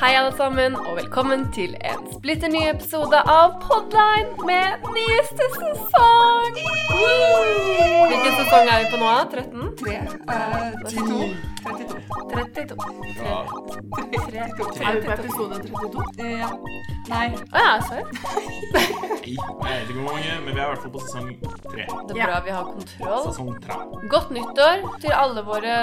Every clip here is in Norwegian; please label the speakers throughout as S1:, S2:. S1: Hei, alle sammen, og velkommen til en splitter ny episode av Podline med nyeste sesong! Hvilken sesong er vi på nå? 13?
S2: 3, eh, 32, 32.
S1: 32?
S3: Ja,
S1: 3?
S2: Er vi
S1: på episode 32?
S2: Eh, ja. Nei.
S1: Å ja, sorry.
S3: nei, jeg vet ikke hvor mange, men vi er i hvert fall på sesong tre.
S1: Det er bra vi har kontroll.
S3: Sesong tre.
S1: Godt nyttår til alle våre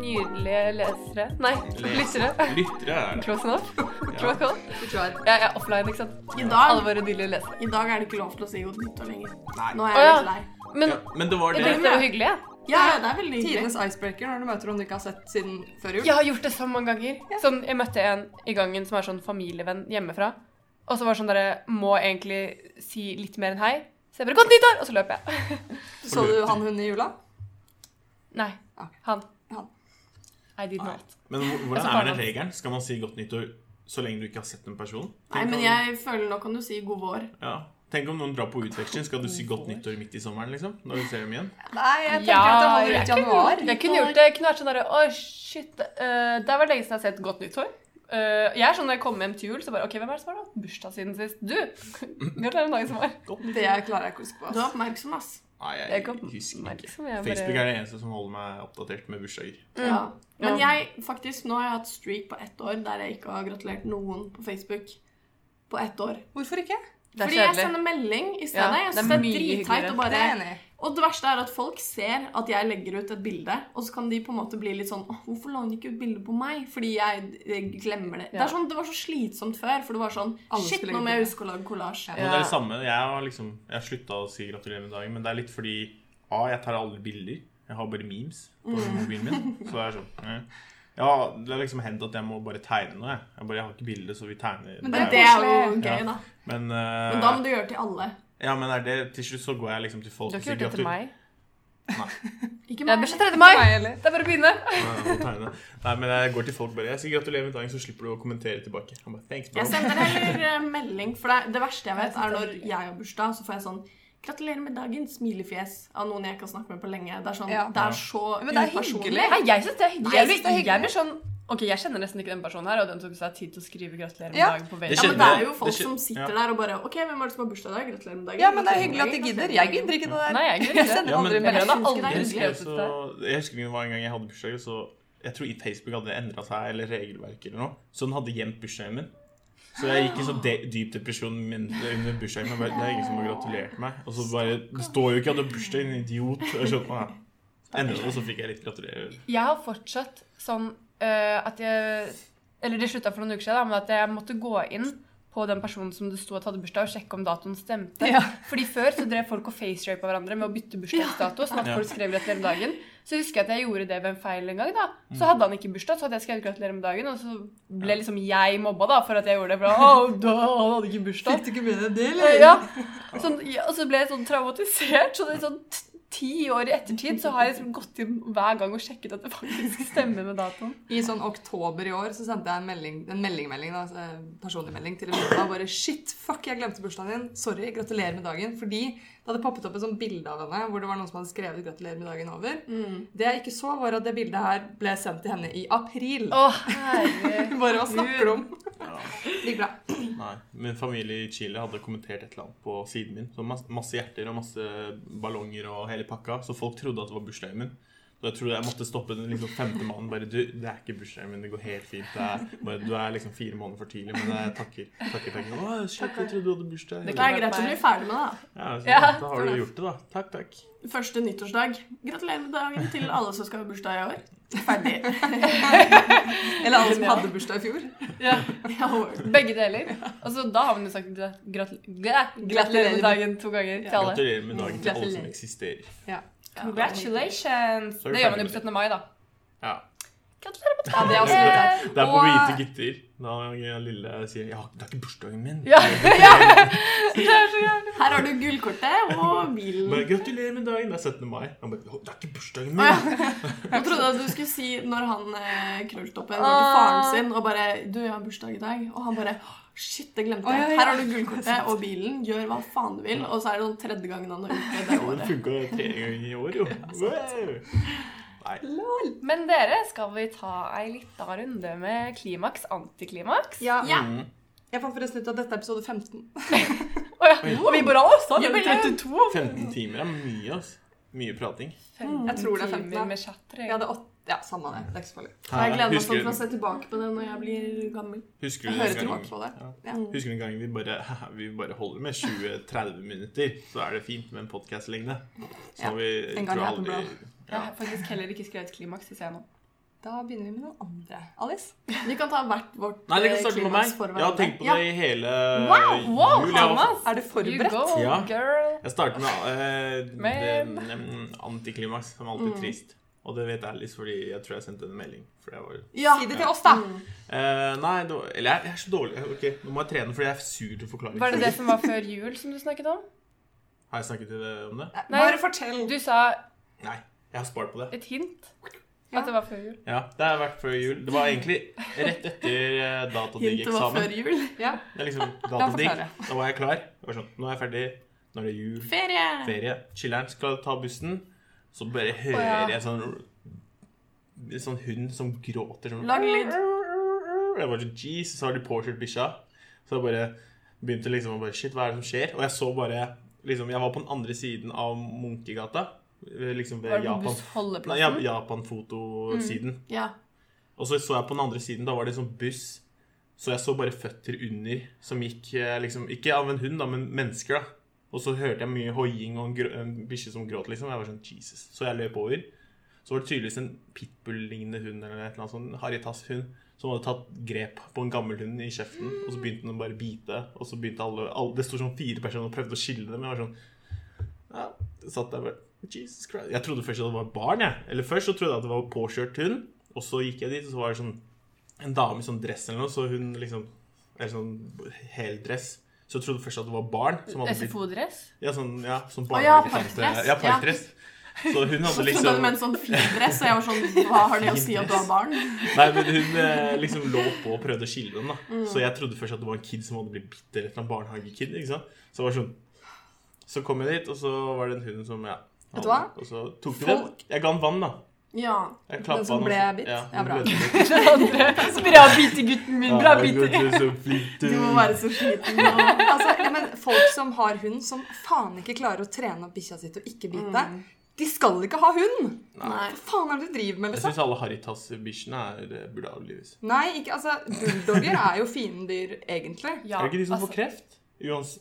S1: nydelige lesere Nei, lyttere.
S3: Lyttere er det.
S1: Close enough?
S3: Ja.
S1: Close enough?
S2: Vi kjører.
S1: Jeg jeg er offline, ikke sant?
S4: I
S1: Alle
S4: dag,
S1: våre nydelige lesere.
S4: I dag er det ikke lov til å si godt nyttår lenger. Nå
S3: Nei.
S4: er jeg
S1: Å, ja.
S4: litt lei.
S1: Men
S3: Ja, men det var
S1: jeg
S3: det.
S1: tenkte det var hyggelig, jeg.
S4: Ja, ja, det er veldig hyggelig.
S2: Tidenes icebreaker når du møter noen du ikke har sett siden før jul.
S1: Jeg har gjort det så mange ganger. Sånn, jeg møtte en i gangen som er sånn familievenn hjemmefra. Og så var det sånn dere må egentlig si litt mer enn hei. Så jeg bare 'Godt nyttår!' Og så løp jeg.
S2: Så du han hun i jula?
S1: Nei.
S2: Ok.
S1: Han.
S2: Han.
S1: I did not.
S3: Men hvor- hvordan
S1: Altså,
S3: er den
S1: barna.
S3: regelen? Skal man si godt nyttår så lenge du ikke har sett en person?
S4: Nei,
S3: Tenk
S4: men
S3: om-
S4: jeg føler nå kan du si god vår.
S3: Ja. Tenk om noen drar på utveksling, skal du si godt nyttår midt i sommeren, liksom? Når du ser dem igjen?
S2: Nei, jeg tenker at det
S1: Ja,
S2: holder
S1: jeg
S2: ut januar.
S1: kunne, jeg kunne gjort det. Jeg kunne vært sånn derre 'Å, shit, eh, der var det lenge siden jeg har sett Godt nyttår'. Eh, jeg er sånn når jeg kommer hjem til jul, så bare 'OK, hvem er det som har hatt bursdag siden sist?' Du! Gratulerer med dagen som var.
S2: Det jeg klarer jeg ikke å huske på.
S4: Du er
S2: ass.
S4: oppmerksom, ass.
S3: Nei,
S1: Jeg
S3: jeg
S1: kom-
S3: husker ikke.
S1: liksom, jeg bare-
S3: Facebook er det eneste som holder meg oppdatert med bursdager.
S4: Ja. Men
S1: Mm. Ja.
S4: jeg, faktisk, nå har jeg hatt streak på ett år der jeg ikke har gratulert noen på Facebook. På ett år.
S2: Hvorfor ikke?
S1: Det er
S4: Fordi jeg
S1: kjedelig.
S4: sender melding i
S1: Ja,
S4: stedet. jeg
S1: det er
S4: synes det er
S1: mye
S4: dritteit
S1: hyggeligere.
S4: å
S2: Det
S4: bare
S2: er jeg enig i.
S4: Og det verste er at folk ser at jeg legger ut et bilde, og så kan de på en måte bli litt sånn Åh, 'Hvorfor la hun ikke ut bilde på meg?' Fordi jeg, jeg glemmer det. Det,
S1: Ja.
S4: er sånn, det var så slitsomt før, for det var sånn
S2: Alle
S4: Shit,
S2: skulle
S4: nå
S2: legge
S4: må jeg
S2: bilde.
S4: huske å lage kollasj.
S3: Men
S1: Ja.
S3: det er det samme. Jeg har liksom, jeg har slutta å si gratulerer med dagen, men det er litt fordi A, jeg tar alle bilder. Jeg har bare memes på mobilen min. Så det er sånn eh. Ja, det har liksom hendt at jeg må bare tegne noe. Jeg, jeg, bare, jeg har ikke bilde, så vi tegner.
S2: Men
S4: Men
S3: er
S4: det
S3: jo-
S4: er jo
S2: koselig.
S4: gøy,
S3: Ja.
S4: da.
S3: men,
S4: Men da må du gjøre det til alle.
S3: eh, ja, men er det, til slutt så går jeg liksom til folk
S1: Du har ikke gjort det til
S3: gratulerer-
S1: meg?
S4: Ikke
S1: Ja,
S4: meg.
S1: bursdag 3. mai!
S2: Meg heller.
S1: Det er bare å begynne.
S3: Nei, å tegne. Nei, men jeg går til folk bare. Jeg sier gratulerer med dagen, så slipper du å kommentere tilbake. Han bare, thanks, bro.
S4: Jeg sender heller eh, melding, for det, det verste jeg vet, er når jeg har bursdag, så får jeg sånn Gratulerer med dagen, smilefjes av noen jeg ikke har snakket med på lenge. Det er sånn,
S2: Ja.
S4: det er så
S2: Men det er
S4: upersonlig.
S2: hyggelig.
S1: Nei, jeg syns det er hyggelig. Jeg
S2: synes det er
S1: blir, jeg
S2: hyggelig.
S1: blir sånn Ok, jeg kjenner nesten ikke den personen her, og den tok seg tid til å skrive 'gratulerer med
S2: Ja.
S1: dagen' på
S3: Det
S4: Ja,
S1: veggen.
S3: skjer-
S4: men det er jo
S3: Det
S4: folk
S3: skjer-
S4: som sitter
S3: ja.
S4: der og bare OK, hvem er det som har bursdag i dag? Gratulerer med dagen.
S2: Ja, men det er
S4: Gratulerer
S2: hyggelig at
S4: med
S2: de
S4: dagen.
S2: gidder. Jeg
S4: Gratulerer med
S2: gidder ikke noe der.
S1: Nei, jeg gidder
S2: Jeg
S1: ikke det.
S2: sender
S3: Ja, men-
S2: aldri
S1: Jeg
S2: melding.
S1: har
S4: Jeg husker det
S1: aldri
S3: Jeg husker,
S1: skrevet det.
S3: så, jeg husker det var en gang jeg hadde bursdag, så jeg tror i Facebook hadde det endra seg, eller regelverket eller noe, så den hadde gjemt bursdagen min. Så jeg gikk i sånn de dyp depresjon min under bursdagen min. bare, Det er ingen som har gratulert meg. Og så bare Det står jo ikke at du har bursdag, din idiot. Og jeg skjønte, ja. Endra det, og så fikk jeg litt gratulerer.
S1: Jeg har fortsatt sånn eh, at jeg Eller det slutta for noen uker siden, da, men at jeg måtte gå inn på den personen som det sto at hadde bursdag, og sjekke om datoen stemte.
S2: Ja.
S1: Fordi før så drev folk og facerape hverandre med å bytte bursdagsdato. sånn at
S3: Ja.
S1: folk skrev gratulerer med dagen. Så husker jeg at jeg gjorde det ved en feil en gang. da. Så hadde han ikke bursdag, så hadde jeg skrevet gratulerer med dagen, og så ble liksom jeg mobba da, for at jeg gjorde det. For da, «Å, da, han hadde ikke bursdag.
S2: Fikk du ikke med deg det,
S1: Ja. Sånn, ja, og så ble jeg sånn traumatisert. Så det er sånn t- ti år i ettertid så har jeg liksom gått inn hver gang og sjekket at det faktisk stemmer med datoen.
S2: I sånn oktober i år så sendte jeg en melding, en melding-melding, da, altså, en personlig melding til Rebecca. Bare shit, fuck, jeg glemte bursdagen din. Sorry, gratulerer med dagen. Fordi det hadde poppet opp et sånt bilde av henne hvor det var noen som hadde skrevet 'gratulerer med dagen' over.
S4: Mm.
S2: Det jeg ikke så, var at det bildet her ble sendt til henne i april.
S1: Å, herregud.
S2: Bare hva snakker du om? Gikk bra.
S3: Nei. Min familie i Chile hadde kommentert et eller annet på siden min. Så mas- masse hjerter og masse ballonger og hele pakka. Så folk trodde at det var bursdagen min. Så jeg trodde jeg måtte stoppe den liksom femte mannen. Bare du, det er ikke bursdagen min. Det går helt fint. Det er bare, du er liksom fire måneder for tidlig, men jeg takker. takker, takker. Å, shit, jeg trodde du hadde
S1: Det
S3: bursdag.
S4: Det er greit å bli ferdig med det. da.
S3: Ja, så,
S1: Ja,
S3: da har du gjort det, da. Takk, takk.
S4: Første nyttårsdag. Gratulerer med dagen til alle som skal ha bursdag i år. Ferdig.
S2: Eller alle som hadde bursdag i fjor.
S4: Ja, over.
S1: Begge deler. Og så da har man jo sagt gra- gratul- gra- gratulerer med dagen to ganger til alle.
S3: Gratulerer med dagen til alle som eksisterer.
S1: Congratulations. Det gjør man jo på 17. mai, da.
S3: Ja.
S1: Gratulerer med
S2: Ja, det er også litt der.
S3: Det er på
S2: Og-
S3: hvite gutter. Da lille sier ja, det er ikke bursdagen min.
S1: Ja, ja. Det er så gøy.
S4: Her har du gullkortet og bilen.
S3: Bare gratulerer med dagen. Det er 17. mai. Han bare, «Å, det er ikke bursdagen min.
S4: Jeg trodde at du skulle si når han eh, krølltoppen går
S2: Ah.
S4: til faren sin og bare 'Du, jeg har bursdag i dag.' Og han bare Shit, det glemte
S2: Å, ja,
S4: jeg.
S2: ja.
S4: Her har du gullkortet og bilen. Gjør hva faen du vil. Og så er det sånn tredje gangen han har gjort det det
S3: Den
S4: året.
S3: funka tre ganger i år, jo. Wow. Nei.
S1: Men dere, skal vi ta ei lita runde med klimaks, antiklimaks?
S2: Ja.
S4: Ja.
S3: Mm.
S2: Jeg fant forresten ut at dette er episode 15.
S1: Å ja. Og vi bare Å, sa det
S4: Jubileum!
S1: 32?
S3: 15 timer er mye, ass. Mye prating.
S2: Jeg tror det er 15, da.
S1: timer med chatter.
S2: Jeg hadde åtte. Ja, samme det. Det er ikke så farlig.
S4: Jeg gleder meg sånn
S3: husker,
S4: for å se tilbake på det når jeg blir gammel.
S3: husker
S2: Jeg
S3: du den
S2: hører
S3: gangen?
S2: tilbake på det.
S3: Ja.
S2: Ja.
S3: Husker du en gang vi bare, vi bare holder med 20-30 minutter, så er det fint med en podcastlengde. Så
S2: Ja.
S3: vi
S2: En gang
S3: tror
S2: i
S3: aldri
S2: Aftenbladet.
S1: Jeg
S3: ja.
S1: har faktisk heller ikke skrevet klimaks, det ser jeg nå.
S2: Da begynner vi med noen andre. Alice?
S4: Vi kan ta hvert vårt
S3: Nei, dere
S4: eh,
S3: kan starte med
S4: klimaks
S3: meg.
S4: for
S3: Jeg har tenkt på det
S4: hverandre.
S3: i hele
S1: Wow! wow,
S3: jul. Jeg var-
S1: Thomas!
S2: Er du forberedt?
S1: You go,
S3: Ja.
S1: girl.
S3: Jeg starter med eh,
S1: Men-
S3: den, eh, antiklimaks, som er alltid trist. Og det vet Alice, fordi jeg tror jeg sendte en melding. For det var...
S4: Ja.
S2: Si det til oss, da.
S1: Mm.
S3: Eh, nei, det var, eller jeg, jeg er så dårlig. Ok, Nå må jeg trene, fordi jeg er sur til å forklare.
S1: Var det det som var før jul, som du snakket om?
S3: Har jeg snakket til deg om det?
S2: Nei,
S1: Nei.
S2: Bare fortell.
S1: Du sa
S3: Nei. Jeg har spart på det.
S1: et hint.
S2: Ja.
S1: At det var før jul.
S3: Ja, Det har vært før jul. Det var egentlig rett etter eh,
S4: Hintet var
S3: datadigg-eksamen.
S4: før jul.
S2: Ja.
S3: Det er liksom
S2: La
S3: datadigg.
S2: forklare.
S3: Da var jeg klar. Jeg var sånn, nå er jeg ferdig. Nå er det jul.
S4: Ferie!
S3: ferie. Chiller'n skal ta bussen, så bare hører
S1: ja.
S3: jeg sånn en sånn hund som gråter sånn
S4: Lag lyd.
S3: Jeg bare sånn, Jesus, så har de påkjørt bikkja. Så jeg bare begynte liksom å bare Shit, hva er det som skjer? Og jeg så bare liksom, Jeg var på den andre siden av Munkegata. eh, Liksom
S1: Var
S3: ved
S1: det på
S3: Japan... Nei,
S1: bussholdeplassen? Mm.
S3: ja, Japan-fotosiden.
S4: Ja.
S3: Og så så jeg på den andre siden, da var det en sånn buss. Så jeg så bare føtter under, som gikk eh, liksom Ikke av en hund, da, men mennesker, da. Og så hørte jeg mye hoiing og en, grå- en bikkje som gråt, liksom. Jeg var sånn Jesus. Så jeg løp over. Så var det tydeligvis en pitbull-lignende hund eller et eller annet sånn harrytass-hund som hadde tatt grep på en gammel hund i kjeften, og så begynte den å bare bite. Og så begynte alle, alle Det sto sånn fire personer og prøvde å skille dem. Jeg var sånn ja, jeg satt der og bare Jesus Christ. Jeg trodde først at det var barn, jeg. Eller først så trodde jeg at det var påkjørt hund. Og så gikk jeg dit, og så var det sånn en dame i sånn dress eller noe, så hun liksom Eller sånn heldress. Så jeg trodde først at det var barn. Som hadde blitt,
S1: SFO-dress?
S3: ja, sånn, ja, sånn
S4: Å ja,
S3: barnehagetante-
S4: parkdress.
S3: Ja, parkdress. Så hun hadde
S4: Så
S3: liksom
S4: det med en sånn fin dress, og jeg var sånn Hva har det å si at du har barn?
S3: Nei, men hun eh, liksom lå på og prøvde å skille dem, da. Så jeg trodde først at det var en kid som hadde blitt bitt eller et eller annet barnehagekid. ikke sant? Så det var sånn Så kom jeg dit, og så var det en hund som ja,
S2: Vet du hva?
S3: Og så tok de den. Jeg ga den vann, da.
S4: Ja.
S3: Jeg
S2: Den som
S3: klappa
S2: ble
S3: også.
S2: bitt?
S3: Ja,
S2: Ja, bra.
S1: Bra bite, gutten min. Bra bite.
S4: Du må være så sliten. Og...
S2: Altså, ja, men folk som har hund som faen ikke klarer å trene opp bikkja sitt og ikke bite,
S1: Mm.
S2: de skal ikke ha hund!
S4: Nei.
S2: Hva faen er det du driver med,
S3: Jeg
S2: liksom?
S3: syns alle Haritas-bikkjene er- eh, burde avlives.
S2: Nei, ikke, altså, bulldogger er jo fine dyr, egentlig.
S1: Ja,
S3: Er det ikke de som får
S1: altså,
S3: kreft? Uans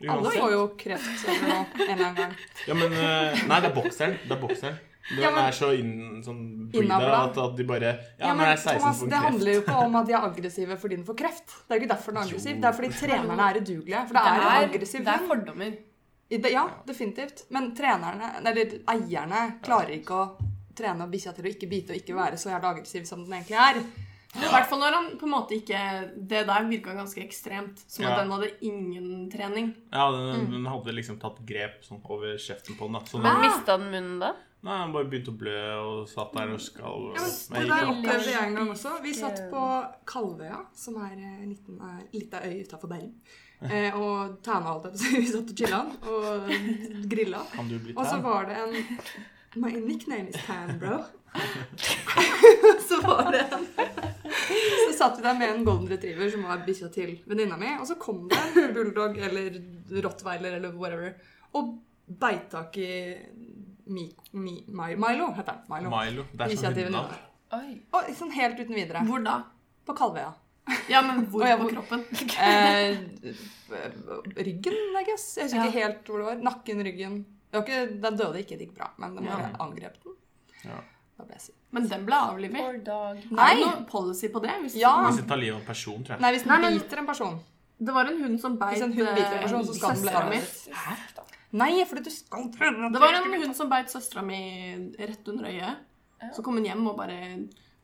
S2: Alle
S3: uansett.
S2: får jo kreft eller noe en eller annen gang.
S3: Ja, men eh, Nei, det er bokseren. Det er bokseren. Den
S2: Ja, men-
S3: er så inn, sånn breeda
S2: Innavla.
S3: at, at de bare Ja,
S2: Ja,
S3: men,
S2: men
S3: jeg er 16
S2: Thomas,
S3: for
S2: det
S3: kreft.
S2: handler jo ikke om at de er aggressive fordi den får kreft. Det er jo ikke derfor den er aggressiv. Det er fordi trenerne er udugelige. For det er en
S1: det, er,
S2: aggressiv
S1: det er
S2: hund.
S1: fordommer.
S2: I det- Ja, definitivt. Men trenerne, eller eierne, klarer ikke å trene bikkja til å ikke bite og ikke være så jævla aggressiv som den egentlig er.
S4: I hvert fall når han på en måte ikke Det der virka ganske ekstremt. Som
S3: Ja.
S4: at den hadde ingen trening.
S3: Ja,
S2: Mm.
S3: den, den hadde liksom tatt grep sånn over kjeften på den. da. Så
S1: Men
S3: den,
S1: mista den munnen da?
S3: nei, den bare begynte å blø og satt der og skalv. og-
S2: Ja,
S3: Men
S2: men
S3: jeg
S2: det der
S3: gikk opp.
S2: opplevde jeg en gang også. Vi satt på Kalvøya, som er en liten eh, lita øy utafor Bergen. Eh, og Tæna holdt jeg på å si. Vi satt og chilla og grilla.
S3: Kan du bli
S2: Og så
S3: tær?
S2: var det en My nickname is Tan, bro. så var det en Så satt vi der med en golden retriever som var bikkja til venninna mi, og så kom det en bulldog eller rottweiler eller whatever og beit tak i mi, mi, Mi- Milo, heter han. Milo.
S3: Milo. Det er sånn
S2: Initiativet
S3: hundenavn.
S2: ditt.
S1: Oi.
S2: Og sånn helt uten videre.
S4: Hvor da?
S2: På Kalvøya.
S4: Ja, men hvor
S2: Å, ja,
S4: på
S2: hvor-
S4: kroppen?
S2: Eh, ryggen, I guess. Jeg husker ikke helt hvor det var. Nakken, ryggen. Det var ikke, den døde ikke, det gikk bra, men den bare angrep den.
S3: Ja.
S2: Da ble jeg sur.
S4: Men den ble avlivet.
S1: Poor dog.
S2: Nei!
S4: Er det noe policy på det? Hvis
S2: Ja.
S3: Hvis den tar livet av en person, tror jeg.
S2: Ah. Nei, hvis den
S4: Nei, men-
S2: biter en person.
S4: Det var en hund som beit
S2: Hvis en hund biter en
S4: eh,
S2: person, så skal den bli
S4: søstera mi.
S2: avlivet. Nei, fordi du skal prøve
S4: Det var en hund som beit søstera mi rett under øyet. Så kom hun hjem og bare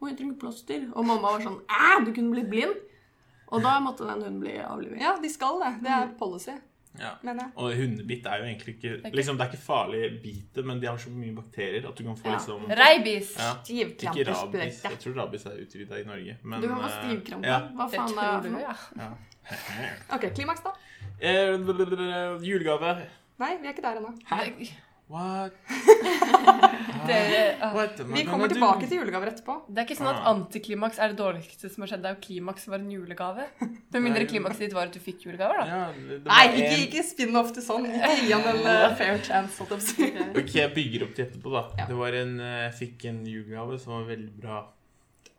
S4: 'Å, jeg trenger plaster.' Og mamma var sånn 'Æ, du kunne blitt blind.' Og da måtte den hunden bli avlivet.
S2: Ja, de skal det. Det er policy,
S3: Ja.
S2: mener jeg.
S3: Og hundebitt er jo egentlig ikke liksom, Det er ikke farlig bitet, men de har så mye bakterier at du kan få
S4: Ja.
S3: liksom
S1: Rabies.
S3: ja. Ikke
S2: Stivkramper
S3: rabies.
S2: spøker.
S3: Jeg tror rabies er utrydda i Norge, men
S4: Du kan få
S3: eh,
S4: stivkrampe.
S3: ja.
S4: Hva
S1: Det
S4: faen
S1: tror
S4: er
S1: du,
S4: det?
S1: ja.
S2: Ok, klimaks, da.
S3: Eh, Julegave.
S2: Nei, vi er ikke der ennå.
S3: Hæ? What?
S1: Dere, ah.
S3: What am I
S2: Vi kommer
S3: gonna do?
S2: tilbake til julegaver etterpå.
S1: Det er ikke sånn at
S3: Ah.
S1: antiklimaks er det dårligste som har skjedd. Det er jo klimaks som var en julegave. Med mindre
S3: Nei.
S1: klimakset ditt var at du fikk julegaver, da.
S3: Ja, det, det
S2: Nei,
S3: var
S2: ikke,
S3: en-
S2: ikke spinn off til sånn. Ikke gi han en eh, fair chance. holdt jeg på å si.
S3: Ok, jeg bygger opp til etterpå, da.
S2: Ja.
S3: Det var en, eh, jeg fikk en julegave som var veldig bra.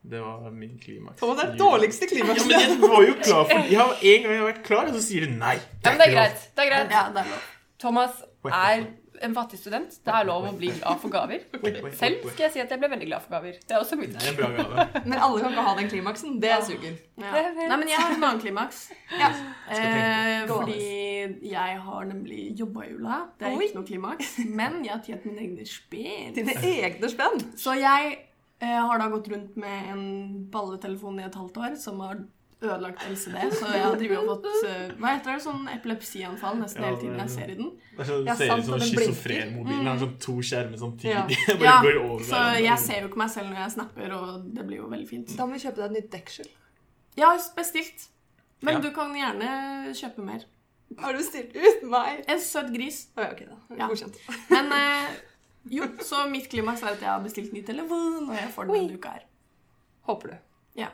S3: Det var min klimaks.
S2: Thomas det er det
S3: Jul-
S2: dårligste
S3: Ja,
S2: klimakset.
S3: men jeg var jo klar for Jeg har en gang jeg har vært klar, og så sier du nei.
S1: Ja, men det er greit. Det er greit.
S4: Ja, det er lov.
S1: Thomas
S3: Wait,
S1: er
S3: wait,
S1: en fattig student. Det er lov å bli glad for gaver.
S3: wait, wait, wait,
S1: Selv
S3: wait.
S1: skal jeg si at jeg ble veldig glad for gaver. Det er også mitt.
S3: Det er en bra gave.
S2: Men alle kan ikke ha den klimaksen. Det suger.
S4: Ja.
S1: Jeg vet.
S4: Nei, men jeg har en annen klimaks.
S2: Ja.
S4: Eh,
S2: Gå,
S4: fordi jeg har nemlig jobba i jula. Det er
S2: Oi.
S4: ikke noe klimaks. Men jeg har tjent mine egne spenn.
S2: Dine egne spenn.
S4: Så jeg eh, har da gått rundt med en balletelefon i et halvt år som har ødelagt LCD. Så jeg har drevet og fått eh, hva heter det, sånn epilepsianfall nesten
S3: Ja,
S4: hele tiden
S3: det-
S4: jeg ser i den.
S3: Det er sånn,
S2: Ja,
S3: det ser
S2: sant,
S3: ut som
S2: og
S3: en
S2: den
S3: schizofren mobil. Den har sånn to
S2: Ja.
S3: skjermer samtidig. Jeg
S4: Ja,
S3: Bare går over
S4: så
S3: hverandre.
S4: jeg ser jo ikke meg selv når jeg snapper, og det blir jo veldig fint.
S2: Da må vi kjøpe deg et nytt deksel.
S4: Jeg har bestilt, men
S3: Ja.
S4: du kan gjerne kjøpe mer.
S2: Har du stilt ut meg?
S4: En søt gris.
S2: Å, ja, ok, da.
S4: Ja.
S2: Godkjent.
S4: Men eh, jo, så mitt klimaks er at jeg har bestilt ny telefon, og jeg får den denne uka her.
S2: Håper du.
S4: Ja.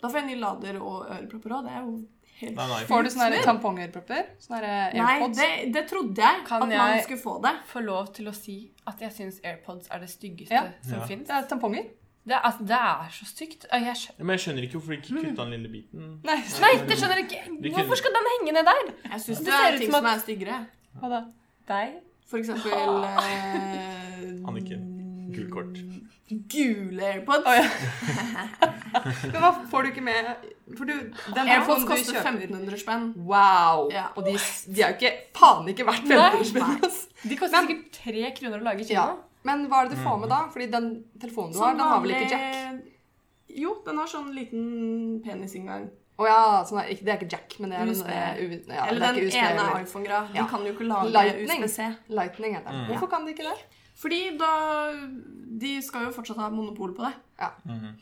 S4: Da får jeg ny lader og ørepropper òg. Det er jo helt
S3: Nei, nei.
S2: Får du sånne her tampongørepropper? Sånne her eh,
S4: Nei,
S2: AirPods?
S4: det, det trodde jeg
S1: Kan
S4: at man
S1: jeg-
S4: skulle få det.
S1: Få lov til å si at jeg syns AirPods er det styggeste
S2: Ja.
S1: som
S3: Ja.
S1: finnes
S2: Det er tamponger.
S1: Det, er- altså, det er så stygt. Ah, Jeg skjønner.
S3: Ja, Men jeg skjønner ikke hvorfor de ikke kutta den lille biten.
S2: Nei,
S1: Nei, det skjønner jeg ikke.
S3: De kunne-
S1: Hvorfor skal den henge ned der?
S4: Jeg syns
S1: Det ser
S4: det, er
S1: ut
S4: ting
S1: som
S4: som
S1: at-
S4: er styggere.
S1: Hva da? Deg?
S4: For eksempel eh,
S3: Anniken. Gult kort.
S4: Gule AirPods.
S1: Å, ja.
S2: Men hva får du ikke med For du, den
S4: AirPods
S2: telefonen du
S4: koster
S2: kjøper
S4: 1500 spenn.
S2: Wow!
S4: Ja.
S2: Og de, de er jo ikke faen ikke verdt
S1: Nei.
S2: 500 spenn. ass.
S1: De koster sikkert tre kroner å lage i Kina.
S2: Ja. Men hva er det du får med da? Fordi den telefonen du har, den har vel ikke jack?
S4: Jo, den har sånn liten penisinngang.
S2: Å ja, sånn er, ikke- det er ikke jack, men det er
S4: USB.
S2: USB. ja,
S4: eller
S2: det er
S4: den
S2: ikke USB,
S4: ene
S2: eller-
S4: iPhone-greia. De
S2: Ja.
S4: kan jo ikke lage
S2: Lightning.
S4: USB-C.
S2: Lightning heter den.
S3: Mm.
S2: Hvorfor kan de ikke det?
S4: Fordi da De skal jo fortsatt ha monopol på det.
S3: Mhm.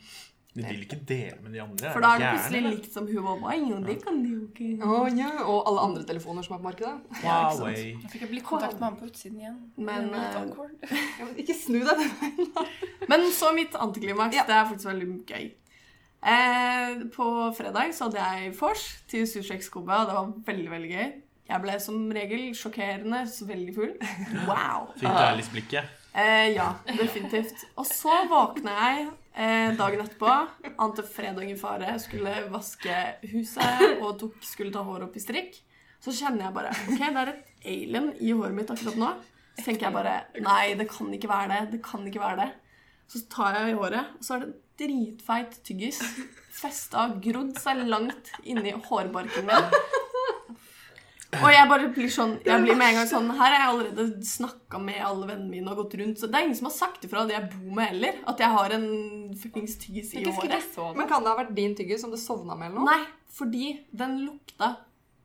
S3: De vil ikke dele med de andre.
S4: For da er det
S3: Gjerne.
S4: plutselig likt som Huawei, og det kan de jo ikke.
S2: Å, ja. Og alle andre telefoner som er på markedet.
S4: Ja, ikke sant.
S3: Huawei.
S1: Da fikk jeg bli i kontakt med han på utsiden igjen.
S4: Men,
S1: Det var litt
S4: eh,
S1: awkward.
S2: Ja, men ikke snu deg den veien.
S4: Men så mitt antiklimaks.
S2: Ja.
S4: Det er faktisk veldig gøy. Eh, på fredag så hadde jeg vors til Sushi X Cuba, og det var veldig, veldig gøy. Jeg ble som regel sjokkerende så veldig full. Wow!
S3: Fikk du Alice-blikket?
S4: Eh, ja, definitivt. Og så våkna jeg eh, dagen etterpå. Ante fredag i fare, skulle vaske huset og tok, skulle ta håret opp i strikk. Så kjenner jeg bare OK, det er et alien i håret mitt akkurat nå. Så tenker jeg bare Nei, det kan ikke være det. Det kan ikke være det. Så tar jeg i håret, og så er det en dritfeit tyggis festa og grodd seg langt inni hårbarken min. Og jeg bare blir sånn Jeg blir med en gang sånn Her har jeg allerede snakka med alle vennene mine og gått rundt. Så det er ingen som har sagt ifra det jeg bor med heller, at jeg har en fuckings tyggis i
S1: Jeg husker ikke
S4: håret.
S1: jeg så det.
S2: Men kan det ha vært din tyggis som du sovna med eller noe?
S4: Nei, fordi den lukta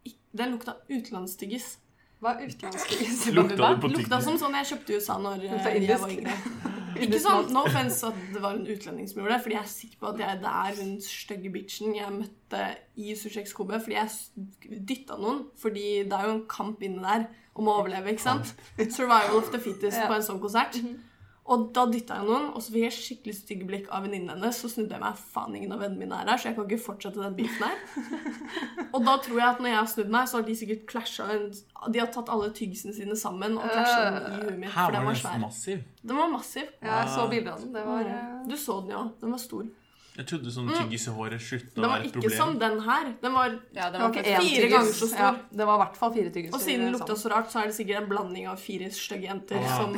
S4: ikk- Den lukta utenlandstyggis.
S2: Hva er utenlandstyggis?
S3: Lukta det på
S4: Lukta
S3: tyggen?
S4: som sånn jeg kjøpte i USA når eh,
S2: Lukta
S4: jeg
S2: indisk.
S4: var yngre. Ikke sånn no offense at det var en utlending som gjorde det, fordi jeg er sikker på at jeg, det er hun stygge bitchen jeg møtte i Sushex Kobe, fordi jeg dytta noen. Fordi det er jo en kamp inne der om å overleve, ikke sant? Survival of the fittest
S2: Ja.
S4: på en sånn konsert. Og da dytta jeg noen, og så fikk jeg skikkelig stygge blikk av venninnen hennes. Så snudde jeg meg. Faen, ingen av vennene mine er her, så jeg kan ikke fortsette den beefen her. Og da tror jeg at når jeg har snudd meg, så har de sikkert klasja en De har tatt alle tyggisene sine sammen og klasja den
S2: Øh,
S4: i huet mitt,
S3: Her
S4: for
S3: var
S4: den var
S3: den så
S4: svær.
S3: massiv.
S4: Den var massiv. Mm.
S2: Ja, jeg så bilder av den. Det var eh,
S4: Du så den jo. Den var stor.
S3: Jeg trodde sånn tyggis i håret slutta å
S4: Den Mm. var
S3: være et
S4: ikke sånn.
S3: problem.
S4: som den her. Den var,
S1: Ja, det
S2: det var
S1: var
S2: ikke
S1: faktisk-
S2: én
S4: fire
S2: tyggis.
S4: ganger så stor.
S2: Ja, det var i hvert fall fire tyggiser.
S4: Og siden den lukta
S2: sammen.
S4: så rart, så er det sikkert en blanding av fire stygge jenter
S3: Ja.
S4: som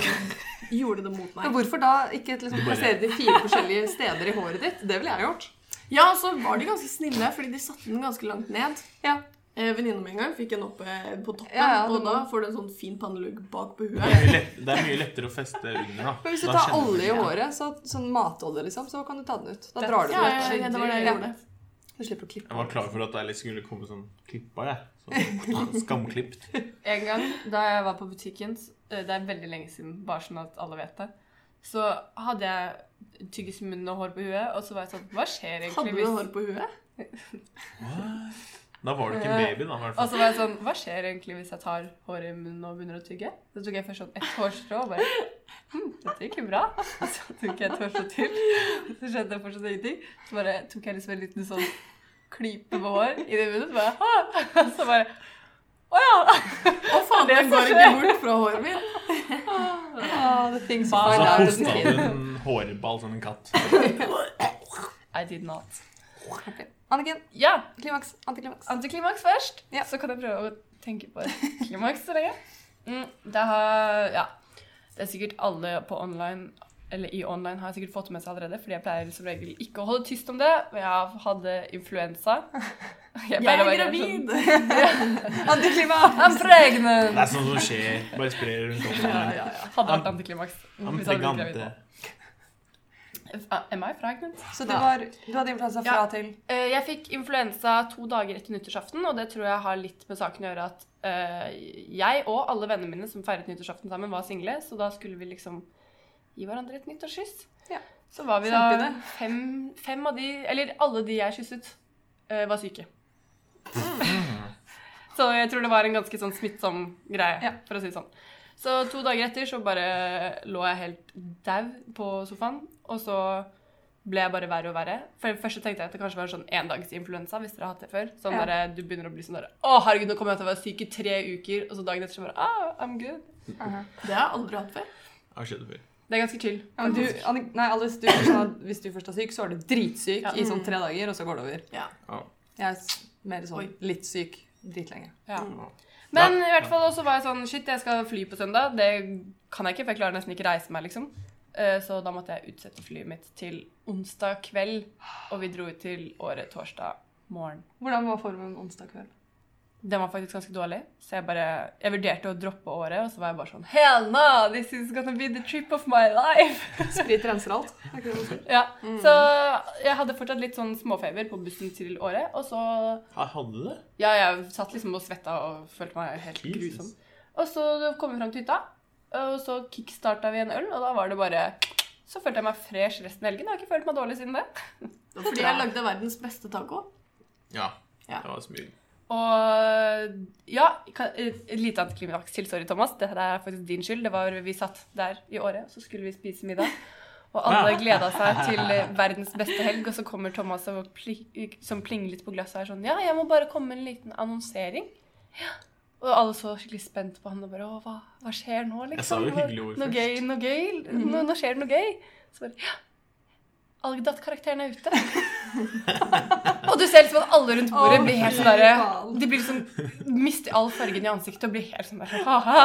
S4: gjorde det mot
S2: Men
S4: meg.
S2: hvorfor da ikke liksom,
S3: Du bare-
S2: plassere de fire forskjellige steder i håret ditt? Det ville jeg gjort.
S4: Ja, og så var de ganske snille, fordi de satte den ganske langt ned.
S2: Ja.
S4: Eh, Venninna mi en gang fikk en oppe på toppen,
S2: Ja, ja, det
S4: og da
S2: må-
S4: får du en sånn fin pannelugg bak på
S3: Det er,
S4: huet.
S3: mye lett, det er mye lettere å feste under, da.
S2: Men hvis du
S3: Da
S2: tar
S3: kjenner du-
S2: olje i håret, så, sånn matolje, liksom, så kan du ta den ut. Da drar du
S4: Ja,
S2: den ut.
S4: ja, ja, det var det jeg
S2: Ja.
S4: gjorde.
S2: Du slipper å klippe.
S3: Jeg var klar for at jeg liksom skulle komme sånn klippa, jeg. Sånn skamklipt.
S1: En gang da jeg var på butikken, s- eh, det er veldig lenge siden, bare sånn at alle vet det, så hadde jeg tyggis i munnen og hår på huet, og så var jeg sånn Hva skjer
S4: Hadde
S1: egentlig
S4: du hår på huet?
S3: Da var du ikke en baby, da. i hvert
S1: Og
S3: fall.
S1: så var jeg sånn Hva skjer egentlig hvis jeg tar håret i munnen og begynner å tygge? Så tok jeg først sånn ett hårstrå og bare hm, Dette gikk jo bra. Og så tok jeg et hårstrå til. Så skjønte jeg fortsatt ingenting. Så bare tok jeg liksom en liten sånn klype med hår i det munnen. Så bare, «Hå!» og så bare Å ja!
S4: Å faen, den går ikke bort fra håret mitt.
S2: Ah, the things you
S1: Bare
S2: find
S3: Og så
S2: out as a
S3: hosta
S2: kid.
S3: du en hårball som en katt.
S1: I did not.
S2: Anniken,
S1: Ja,
S2: klimaks, antiklimaks.
S1: Antiklimaks først,
S2: Ja.
S1: så kan jeg prøve å tenke på et klimaks så lenge. Mm, det, har, ja. det er sikkert alle på online, eller i online har jeg sikkert fått med seg allerede, fordi jeg pleier som regel ikke å holde tyst om det. og Jeg hadde influensa. Jeg,
S4: Jeg
S1: pleier å
S4: er
S1: være
S4: gravid!
S2: Antiklimaks!
S1: Sånn, I'm pregnant!
S3: Det er sånt som skjer. Bare sprer rundt om.
S4: Ja, ja, ja.
S1: Hadde vært antiklimaks.
S3: Han
S1: hvis jeg hadde blitt
S3: pregante.
S1: gravid. Am I pregnant?
S2: Så du, var, du hadde influensa fra
S1: Ja.
S2: til
S1: Eh, Jeg fikk influensa to dager etter nyttårsaften, og det tror jeg har litt med saken å gjøre at eh, jeg og alle vennene mine som feiret nyttårsaften sammen, var single, så da skulle vi liksom gi hverandre et nyttårskyss.
S2: Ja.
S1: Så var vi da
S2: Kjempeidé.
S1: fem, fem av de Eller alle de jeg kysset, eh, var syke. Så jeg tror det var en ganske sånn smittsom greie,
S2: Ja.
S1: for å si det sånn. Så to dager etter så bare lå jeg helt dau på sofaen, og så ble jeg bare verre og verre. For Først så tenkte jeg at det kanskje var sånn endagsinfluensa, hvis dere har hatt det før. Sånn
S2: Ja.
S1: bare, Du begynner å bli sånn der Å, herregud, nå kommer jeg til å være syk i tre uker. Og så dagen etter så bare Ah, I'm good.
S4: Det har jeg aldri hatt før.
S3: Har skjedd før.
S1: Det er ganske chill.
S2: ja, men du, Annik, Nei, Alice, du, er sånn at hvis du først er syk, så er du dritsyk
S1: Ja.
S2: i sånn tre dager, og så går det over.
S4: Ja.
S3: Ja.
S2: Jeg er s- mer sånn
S4: Oi.
S2: litt syk dritlenge.
S1: Ja.
S3: Ja.
S1: Men i hvert fall også var jeg sånn Shit, jeg skal fly på søndag. Det kan jeg ikke, for jeg klarer nesten ikke reise meg, liksom. Eh, Så da måtte jeg utsette flyet mitt til onsdag kveld, og vi dro ut til året torsdag morgen.
S2: Hvordan var formen onsdag kveld?
S1: Den var faktisk ganske dårlig, så jeg bare Jeg vurderte å droppe året, og så var jeg bare sånn Hell no! This is gonna be the trip of my life!
S2: Sprit renser alt. Er ikke det man sier?
S1: Ja, Så jeg hadde fortsatt litt sånn småfeber på bussen til året, og så
S3: Jeg hadde det.
S1: Ja, jeg satt liksom og svetta og følte meg helt
S3: Jesus.
S1: grusom. Og så kom vi fram til hytta, og så kickstarta vi en øl, og da var det bare Så følte jeg meg fresh resten av helgen. Jeg har ikke følt meg dårlig siden det.
S4: Det var Fordi jeg lagde verdens beste taco.
S3: Ja.
S4: Ja.
S3: Det var smooth.
S1: Og ja, kan, et lite antiklimaks til. Sorry, Thomas. Dette er faktisk din skyld. Det var Vi satt der i året, så skulle vi spise middag. Og alle gleda seg til eh, verdens beste helg, og så kommer Thomas og pli, som plinger litt på glasset og er sånn Ja, jeg må bare komme med en liten annonsering. Ja. Og alle så skikkelig spent på han og bare Å, hva, hva skjer nå, liksom?
S3: Jeg sa jo
S1: Hva-
S3: hyggelige ord
S1: Noe
S3: først. Mhm.
S1: gøy, noe gøy. Nå, nå skjer det noe gøy. Så bare Ja. Algdat-karakteren er ute. og du ser liksom at alle rundt bordet
S2: Å,
S1: blir helt
S2: fy
S1: sånn derre
S2: faen.
S1: De blir liksom mister all fargen i ansiktet og blir helt sånn der «Haha».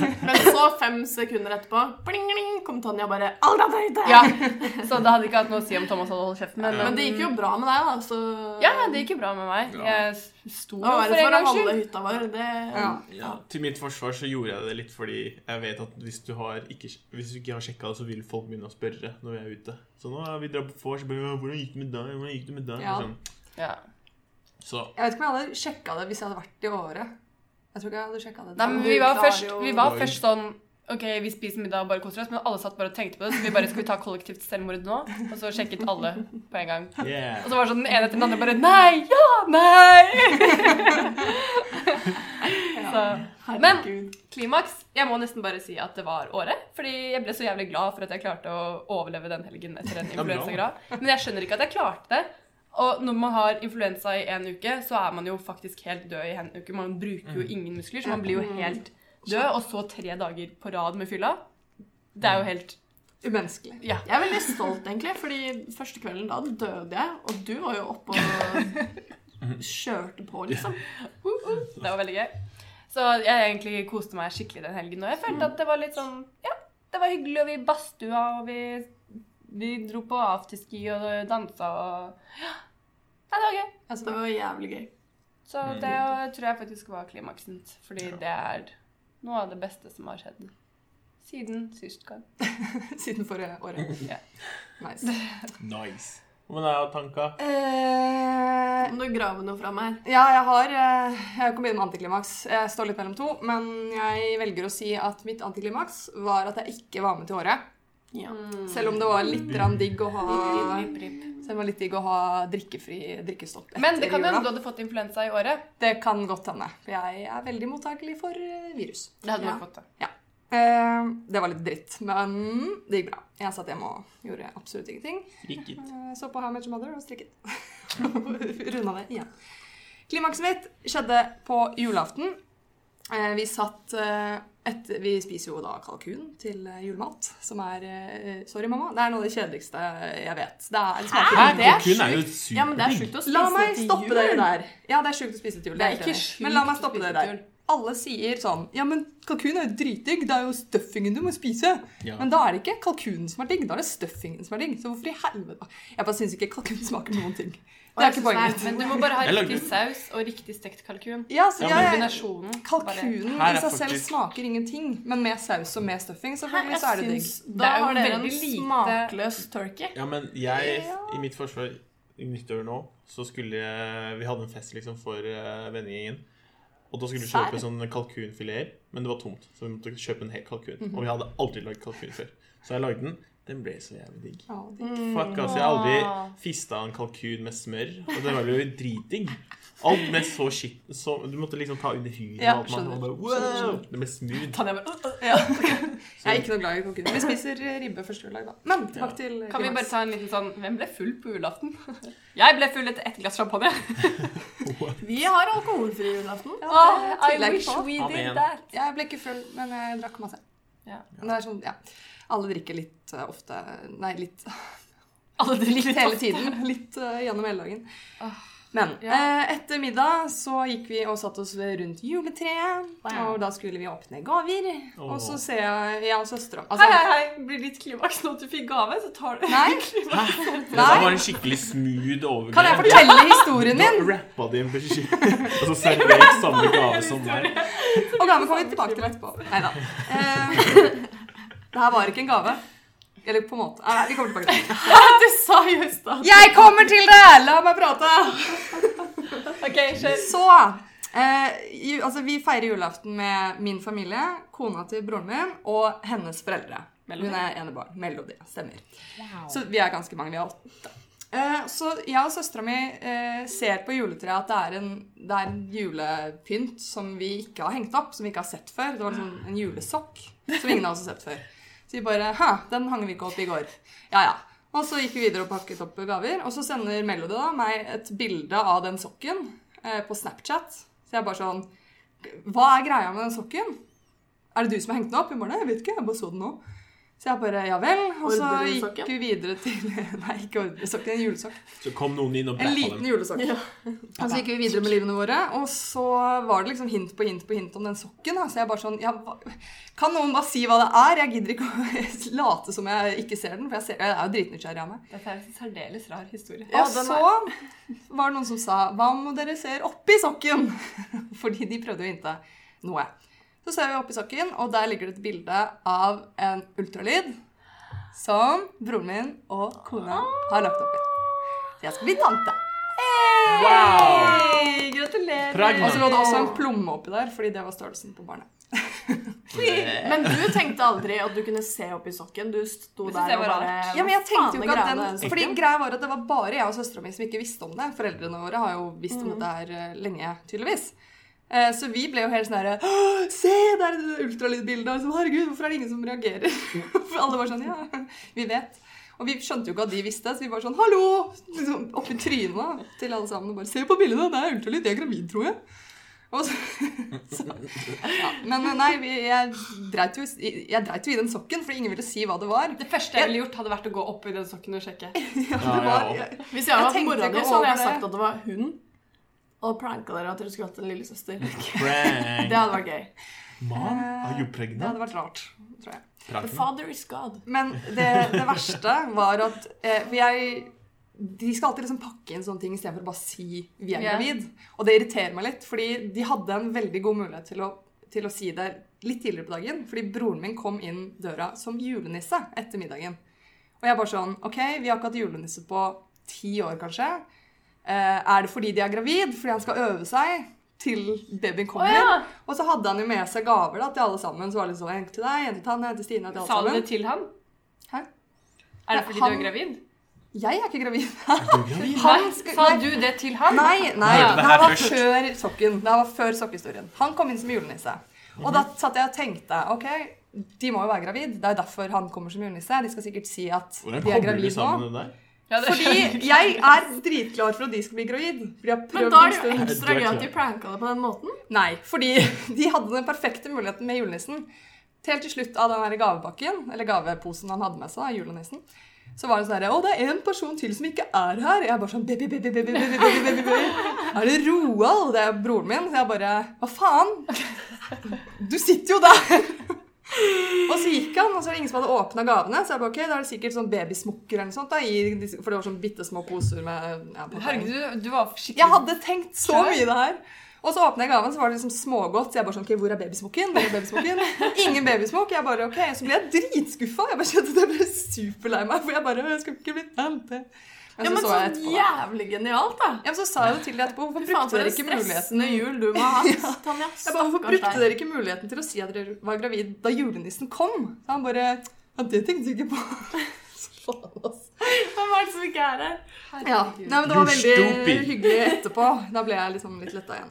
S4: Men så, fem sekunder etterpå, bling, bling, kom Tonja bare «Alda, Tøyte!»
S1: Ja. Så det hadde ikke hatt noe å si om Thomas hadde holdt kjeften.
S4: Men det gikk jo bra med deg, da. Så
S1: Ja, ja, det gikk jo bra med meg.
S3: Ja.
S1: Jeg sto
S4: det
S1: jo
S4: var
S1: for
S4: verre
S1: en
S4: for
S1: gangs
S4: halve
S1: skyld.
S4: hytta vår. Det,
S2: Ja.
S3: Ja. Til mitt forsvar så gjorde jeg det litt fordi jeg vet at hvis du, har ikke, hvis du ikke har sjekka det, så vil folk begynne å spørre når vi er ute. Så nå er vi drar på vors, så bare «Ja, 'Hvordan gikk det med deg?' Hvordan gikk det med deg?
S2: Ja.
S3: Sånn.
S1: Ja.
S3: Så
S2: Jeg vet ikke om jeg hadde sjekka det hvis jeg hadde vært i året. Jeg tror ikke jeg hadde sjekka det.
S1: Nei, men
S4: Du
S1: vi var
S4: klarer
S1: først,
S4: jo-
S1: vi var først sånn OK, vi spiser middag og bare koser oss, men alle satt bare og tenkte på det, så vi bare Skal vi ta kollektivt selvmord nå? Og så sjekket alle på en gang. Og
S3: yeah.
S1: så var det sånn den ene etter den andre bare Nei! Ja! Nei! så Men-
S4: Herregud.
S1: Klimaks. Jeg må nesten bare si at det var året. Fordi jeg ble så jævlig glad for at jeg klarte å overleve den helgen etter en
S3: Ja, bra.
S1: influensagrad. Men jeg skjønner ikke at jeg klarte det. Og når man har influensa i en uke, så er man jo faktisk helt død i en uke. Man bruker jo
S3: Mm.
S1: ingen muskler, så man blir jo helt død. Og så tre dager på rad med fylla. Det er jo helt
S2: Umenneskelig.
S1: Ja.
S4: Jeg er veldig stolt, egentlig, fordi første kvelden da døde jeg, og du var jo oppe og kjørte på, liksom.
S1: Det var veldig gøy. Så jeg egentlig koste meg skikkelig den helgen. Og jeg følte
S3: Mm.
S1: at det var litt sånn Ja, det var hyggelig, og vi badstua, og vi, vi dro på afterski og dansa og Ja. Nei, det var gøy.
S2: Altså,
S4: Det var jævlig gøy.
S1: Så
S3: Mm.
S1: det tror jeg faktisk var klimaksen. Fordi
S3: Ja.
S1: det er noe av det beste som har skjedd siden sist gang.
S2: Siden forrige året.
S1: Ja.
S2: Nice.
S3: Nice. Men det er jo tanka.
S2: Eh,
S4: Om du graver noe fra meg
S2: ja, jeg har eh, Jeg kom inn med antiklimaks. Jeg står litt mellom to, men jeg velger å si at mitt antiklimaks var at jeg ikke var med til året.
S4: Ja.
S2: Selv om det var litt grann digg å ha
S4: Rip, rip, rip.
S2: Selv Den var litt digg å ha drikkefri drikkestopp etter
S1: Men det kan hende du
S2: jula.
S1: hadde fått influensa i året.
S2: Det kan godt hende. for Jeg er veldig mottakelig for eh, virus.
S1: Det hadde
S4: Ja.
S1: man fått, da.
S2: Eh, det var litt dritt, men det gikk bra. Jeg satt hjemme og gjorde absolutt ingenting.
S3: Gikk ut.
S2: Eh, Så på How Much Mother og strikket. Runda det igjen. Klimakset mitt skjedde på julaften. Eh, Vi satt eh, etter, Vi spiser jo da kalkun til eh, julemat, som er eh, Sorry, mamma. Det er noe av det kjedeligste jeg vet. Det, er, det smaker
S4: Hæ?
S2: ingenting.
S4: Det er
S3: Kalkun er jo
S4: sjukt. Ja, men det er
S3: superdigg.
S4: sjukt å spise
S2: La meg
S4: til
S2: stoppe
S4: jul.
S2: dere der. Ja, det er sjukt å spise til jul.
S1: Det er
S2: jeg
S1: ikke
S2: enig i.
S1: sjukt
S2: Men la meg
S1: å
S2: stoppe
S1: spise
S2: dere
S1: til
S2: der.
S1: jul.
S2: Alle sier sånn Ja, men kalkun er jo dritdigg. Det er jo stuffingen du må spise.
S3: Ja.
S2: Men da er det ikke kalkunen som er digg, da er det stuffingen som er digg. Så hvorfor i helvete Jeg bare syns ikke kalkun smaker noen ting. Det er ikke poenget mitt.
S1: Men du må bare ha
S3: Jeg lagde-
S1: riktig saus og riktig stekt kalkun.
S2: Ja, så
S3: Ja, men-
S2: jeg,
S1: Kombinasjonen. bare-
S2: kalkunen
S3: Her
S2: i
S3: er
S2: seg selv
S3: faktisk-
S2: smaker ingenting, men med saus og med stuffing
S4: Hæ,
S2: selvfølgelig så er
S4: jeg
S2: det digg.
S4: syns
S1: Det
S4: Da
S1: er jo
S4: har dere en
S1: veldig lite-
S4: smakløs turkey.
S3: Ja, men jeg, i mitt forsvar i nyttår nå, så skulle jeg Vi hadde en fest liksom for uh, vennegjengen. Og da skulle vi kjøpe
S2: Serr?
S3: sånne kalkunfileter, men det var tomt. Så vi måtte kjøpe en hel kalkun.
S2: Mhm.
S3: Og vi hadde aldri lagd kalkun før. Så jeg lagde den. Den ble så jævlig digg.
S2: Ja,
S1: Mm.
S2: digg.
S3: Fuck, altså. Jeg har aldri fista en kalkun med smør. Og det var jo dritdigg. Alt med så shit så, Du måtte liksom ta under huden
S2: Ja,
S3: og alt. Man,
S2: skjønner.
S3: og bare, wow!
S2: Skjønner.
S3: Det ble smooth.
S2: Tanja
S4: øh,
S2: bare ja. Jeg er ikke noe glad i kalkun. Vi spiser ribbe første juledag, da. Men tilbake til
S1: Kan vi
S2: klimaks.
S1: bare ta en liten sånn Hvem ble full på julaften? Jeg ble full etter ett glass champagne.
S4: Vi har alkoholfri julaften.
S2: Ja,
S1: Åh, I
S2: det tviler jeg
S1: wish
S2: ikke på.
S1: we
S3: Amen.
S1: did that.
S2: Jeg ble ikke full, men jeg drakk masse.
S1: Ja.
S2: Men Det er sånn, ja. Alle drikker litt eh, ofte Nei, litt,
S4: Alle
S2: litt
S4: drikker
S2: hele tiden. Litt eh, gjennom hele dagen. Men eh, etter middag så gikk vi og satt oss ved rundt juletreet.
S1: Wow.
S2: Og da skulle vi åpne gaver.
S3: Åh.
S2: Og så ser jeg Jeg og søstera
S1: Hei, hei, hei. Blir ditt klimaks nå at du fikk gave, så tar du
S2: Altså, Nei,
S3: Det var en skikkelig smooth overgang.
S2: kan jeg fortelle historien min?
S3: Rappa de en beskjed, og så servert samme gave som meg.
S2: Og gaven kommer vi tilbake til etterpå. Nei da. Eh, det her var ikke en gave. Eller på en måte. Nei, vi kommer tilbake til det.
S4: Du sa just da.
S2: Jeg kommer til det! La meg prate!
S1: Ok, kjør.
S2: Så eh, ju, altså, Vi feirer julaften med min familie, kona til broren min og hennes foreldre. Hun er enebarn. Melody. Stemmer. Så vi er ganske mange. Vi er åtte. Eh, så jeg og søstera mi eh, ser på juletreet at det er, en, det er en julepynt som vi ikke har hengt opp, som vi ikke har sett før. Det var liksom en julesokk som ingen av oss har sett før. Så vi bare Hæ, den hang vi ikke opp i går. Ja, ja. Og så gikk vi videre og pakket opp gaver. Og så sender Melody da meg et bilde av den sokken eh, på Snapchat. Så jeg er bare sånn Hva er greia med den sokken? Er det du som har hengt den opp? Hun bare Nei, jeg vet ikke. Jeg bare så den nå. Så jeg bare Ja vel. Og så gikk
S4: Ordresokken?
S2: vi videre til Nei, ikke ordresokken. En julesokk.
S3: Så kom noen inn og
S2: En
S3: blaffa
S2: liten
S3: dem.
S2: julesokk. Og så gikk vi videre med livene våre, og så var det liksom hint på hint på hint om den sokken. Da. Så jeg bare sånn ja, hva- Kan noen bare si hva det er? Jeg gidder ikke å late som jeg ikke ser den, for jeg, ser, jeg er jo dritnysgjerrig av meg.
S1: Dette er en særdeles rar historie.
S2: Og
S4: den
S2: så var det noen som sa Hva om dere ser oppi sokken? Fordi de prøvde å hinte noe. Så ser vi oppi sokken, og der ligger det et bilde av en ultralyd som broren min og kona har lagt oppi. Så jeg skal bli tante.
S3: Wow!
S2: Hey, gratulerer.
S1: Altså,
S3: Pragma.
S2: Og så lå det Altså, også en plomme oppi der, fordi det var størrelsen på barnet.
S4: Men du tenkte aldri at du kunne se opp i sokken. Du sto
S1: Det synes
S4: der
S1: jeg
S4: og
S1: var
S4: bare
S1: rart.
S2: Ja, men jeg tenkte jo
S4: Faen,
S2: ikke at
S4: greia med
S2: den
S4: den
S2: Fordi
S3: sokken.
S2: greia var at det var bare jeg og søstera mi som ikke visste om det. Foreldrene våre har jo visst
S1: Mm.
S2: om dette her eh, lenge, tydeligvis. Eh, Så vi ble jo helt sånn herre «Åh, Se, der er det ultralydbildet! Og så, Herregud, hvorfor er det ingen som reagerer? For alle var sånn Ja, vi vet. Og vi skjønte jo ikke at de visste, så vi var sånn Hallo! Liksom oppi trynet til alle sammen og bare Se på bildene, det er ultralyd! Jeg er gravid, tror jeg. Og så, så ja. Men eh, nei, vi, jeg dreit jo i- jeg dreit jo i den sokken, for ingen ville si hva det var.
S1: Det første jeg ville gjort, hadde vært å gå opp i den sokken og sjekke.
S3: Ja,
S2: Det
S3: ja,
S2: var,
S3: ja.
S4: Hvis jeg hadde
S2: Jeg
S4: hatt mora
S2: tenkte
S4: di,
S2: ikke
S4: så hadde jeg
S2: over det.
S4: sagt at det var hun. Og pranka dere at dere skulle hatt en lillesøster. Det
S3: Prank.
S4: hadde vært gøy.
S3: Mom, are you
S2: Det
S3: pregnant?
S2: hadde vært rart, tror jeg.
S4: The
S3: Pragma.
S4: father is God.
S2: Men det, det verste var at eh, For jeg De skal alltid liksom pakke inn sånne ting istedenfor bare å si 'vi er
S1: Ja.
S2: gravid'. Og det irriterer meg litt, fordi de hadde en veldig god mulighet til å, til å si det litt tidligere på dagen. Fordi broren min kom inn døra som julenisse etter middagen. Og jeg bare sånn OK, vi har ikke hatt julenisse på ti år, kanskje. Eh, er det fordi de er gravid? Fordi han skal øve seg til babyen kommer?
S1: ja.
S2: Og så hadde han jo med seg gaver da, til alle sammen. Så var det liksom en til deg, en til Tanja, en til Stine, en til alle
S1: Sa du det
S2: sammen.
S1: til han?
S2: Hæ?
S1: Er det
S2: Nei,
S1: fordi
S2: han-
S1: du er gravid?
S2: Jeg er ikke gravid.
S3: Er du gravid?
S2: Han
S1: Nei,
S2: skulle-
S1: sa
S2: nei.
S1: du det til ham?
S2: Nei, nei.
S3: Hørte
S2: Det
S3: det her
S2: her var
S3: først.
S2: før sokken. Det her var før sokkehistorien. Han kom inn som julenisse. Og da satt jeg og tenkte ok, de må jo være gravid. Det er jo derfor han kommer som julenisse. De skal sikkert si at
S3: Hvordan
S2: de er
S3: kobler du
S2: gravid nå.
S3: sammen det der?
S1: Ja, det-
S2: Fordi jeg er dritklar for at de skal bli gravid. For de har
S4: Men
S2: prøvd
S4: da
S2: en
S4: er det jo
S2: stund.
S4: ekstra gøy at de pranka det på den måten.
S2: Nei, fordi de hadde den perfekte muligheten med julenissen. Helt til slutt av den der gavepakken, eller gaveposen han hadde med seg, da, julenissen, så var det sånn herre Å, det er en person til som ikke er her. Jeg er bare sånn baby, baby, baby, baby, baby, baby, baby. Er det Roald? Det er broren min. Så jeg bare Hva faen? Du sitter jo der! Og så gikk han, og så var det ingen som hadde åpna gavene. Så jeg bare, ok, da er det sikkert sånn babysmokker eller noe sånt. da, i, disse- For det var sånn bitte små poser med ja,
S1: Herregud, du, du var skikkelig
S2: jeg hadde tenkt så
S1: Klar.
S2: mye det her. Og så åpnet jeg gaven, så var det liksom smågodt. Så jeg bare sånn, ok, hvor er babysmokken? Hvor er babysmokken? Ingen babysmokk. Jeg bare, ok, så ble jeg dritskuffa. Jeg bare kjente at jeg ble superlei meg, for jeg bare, jeg skulle ikke bli tante. Men
S4: Ja,
S2: så
S4: men
S2: så jeg
S4: så
S2: etterpå. da.
S4: jævlig genialt, da.
S2: Ja, men så sa jeg det til deg etterpå. Hvorfor
S4: Fy
S2: brukte
S4: faen, for
S2: dere
S4: en
S2: ikke muligheten?
S4: stressende jul du må ha hatt,
S2: Jeg
S4: Tanja.
S2: bare, hvorfor
S4: Stakkars
S2: brukte
S4: deg.
S2: dere ikke muligheten til å si at dere var gravid da julenissen kom? Så han bare, ja, det tenkte jeg ikke på. Så faen, ass.
S4: Hvem er det som ikke er her?
S2: Ja.
S1: Herregud.
S2: Nei, men det var
S3: You're
S2: veldig
S3: stupid.
S2: hyggelig etterpå. Da ble jeg liksom litt letta igjen.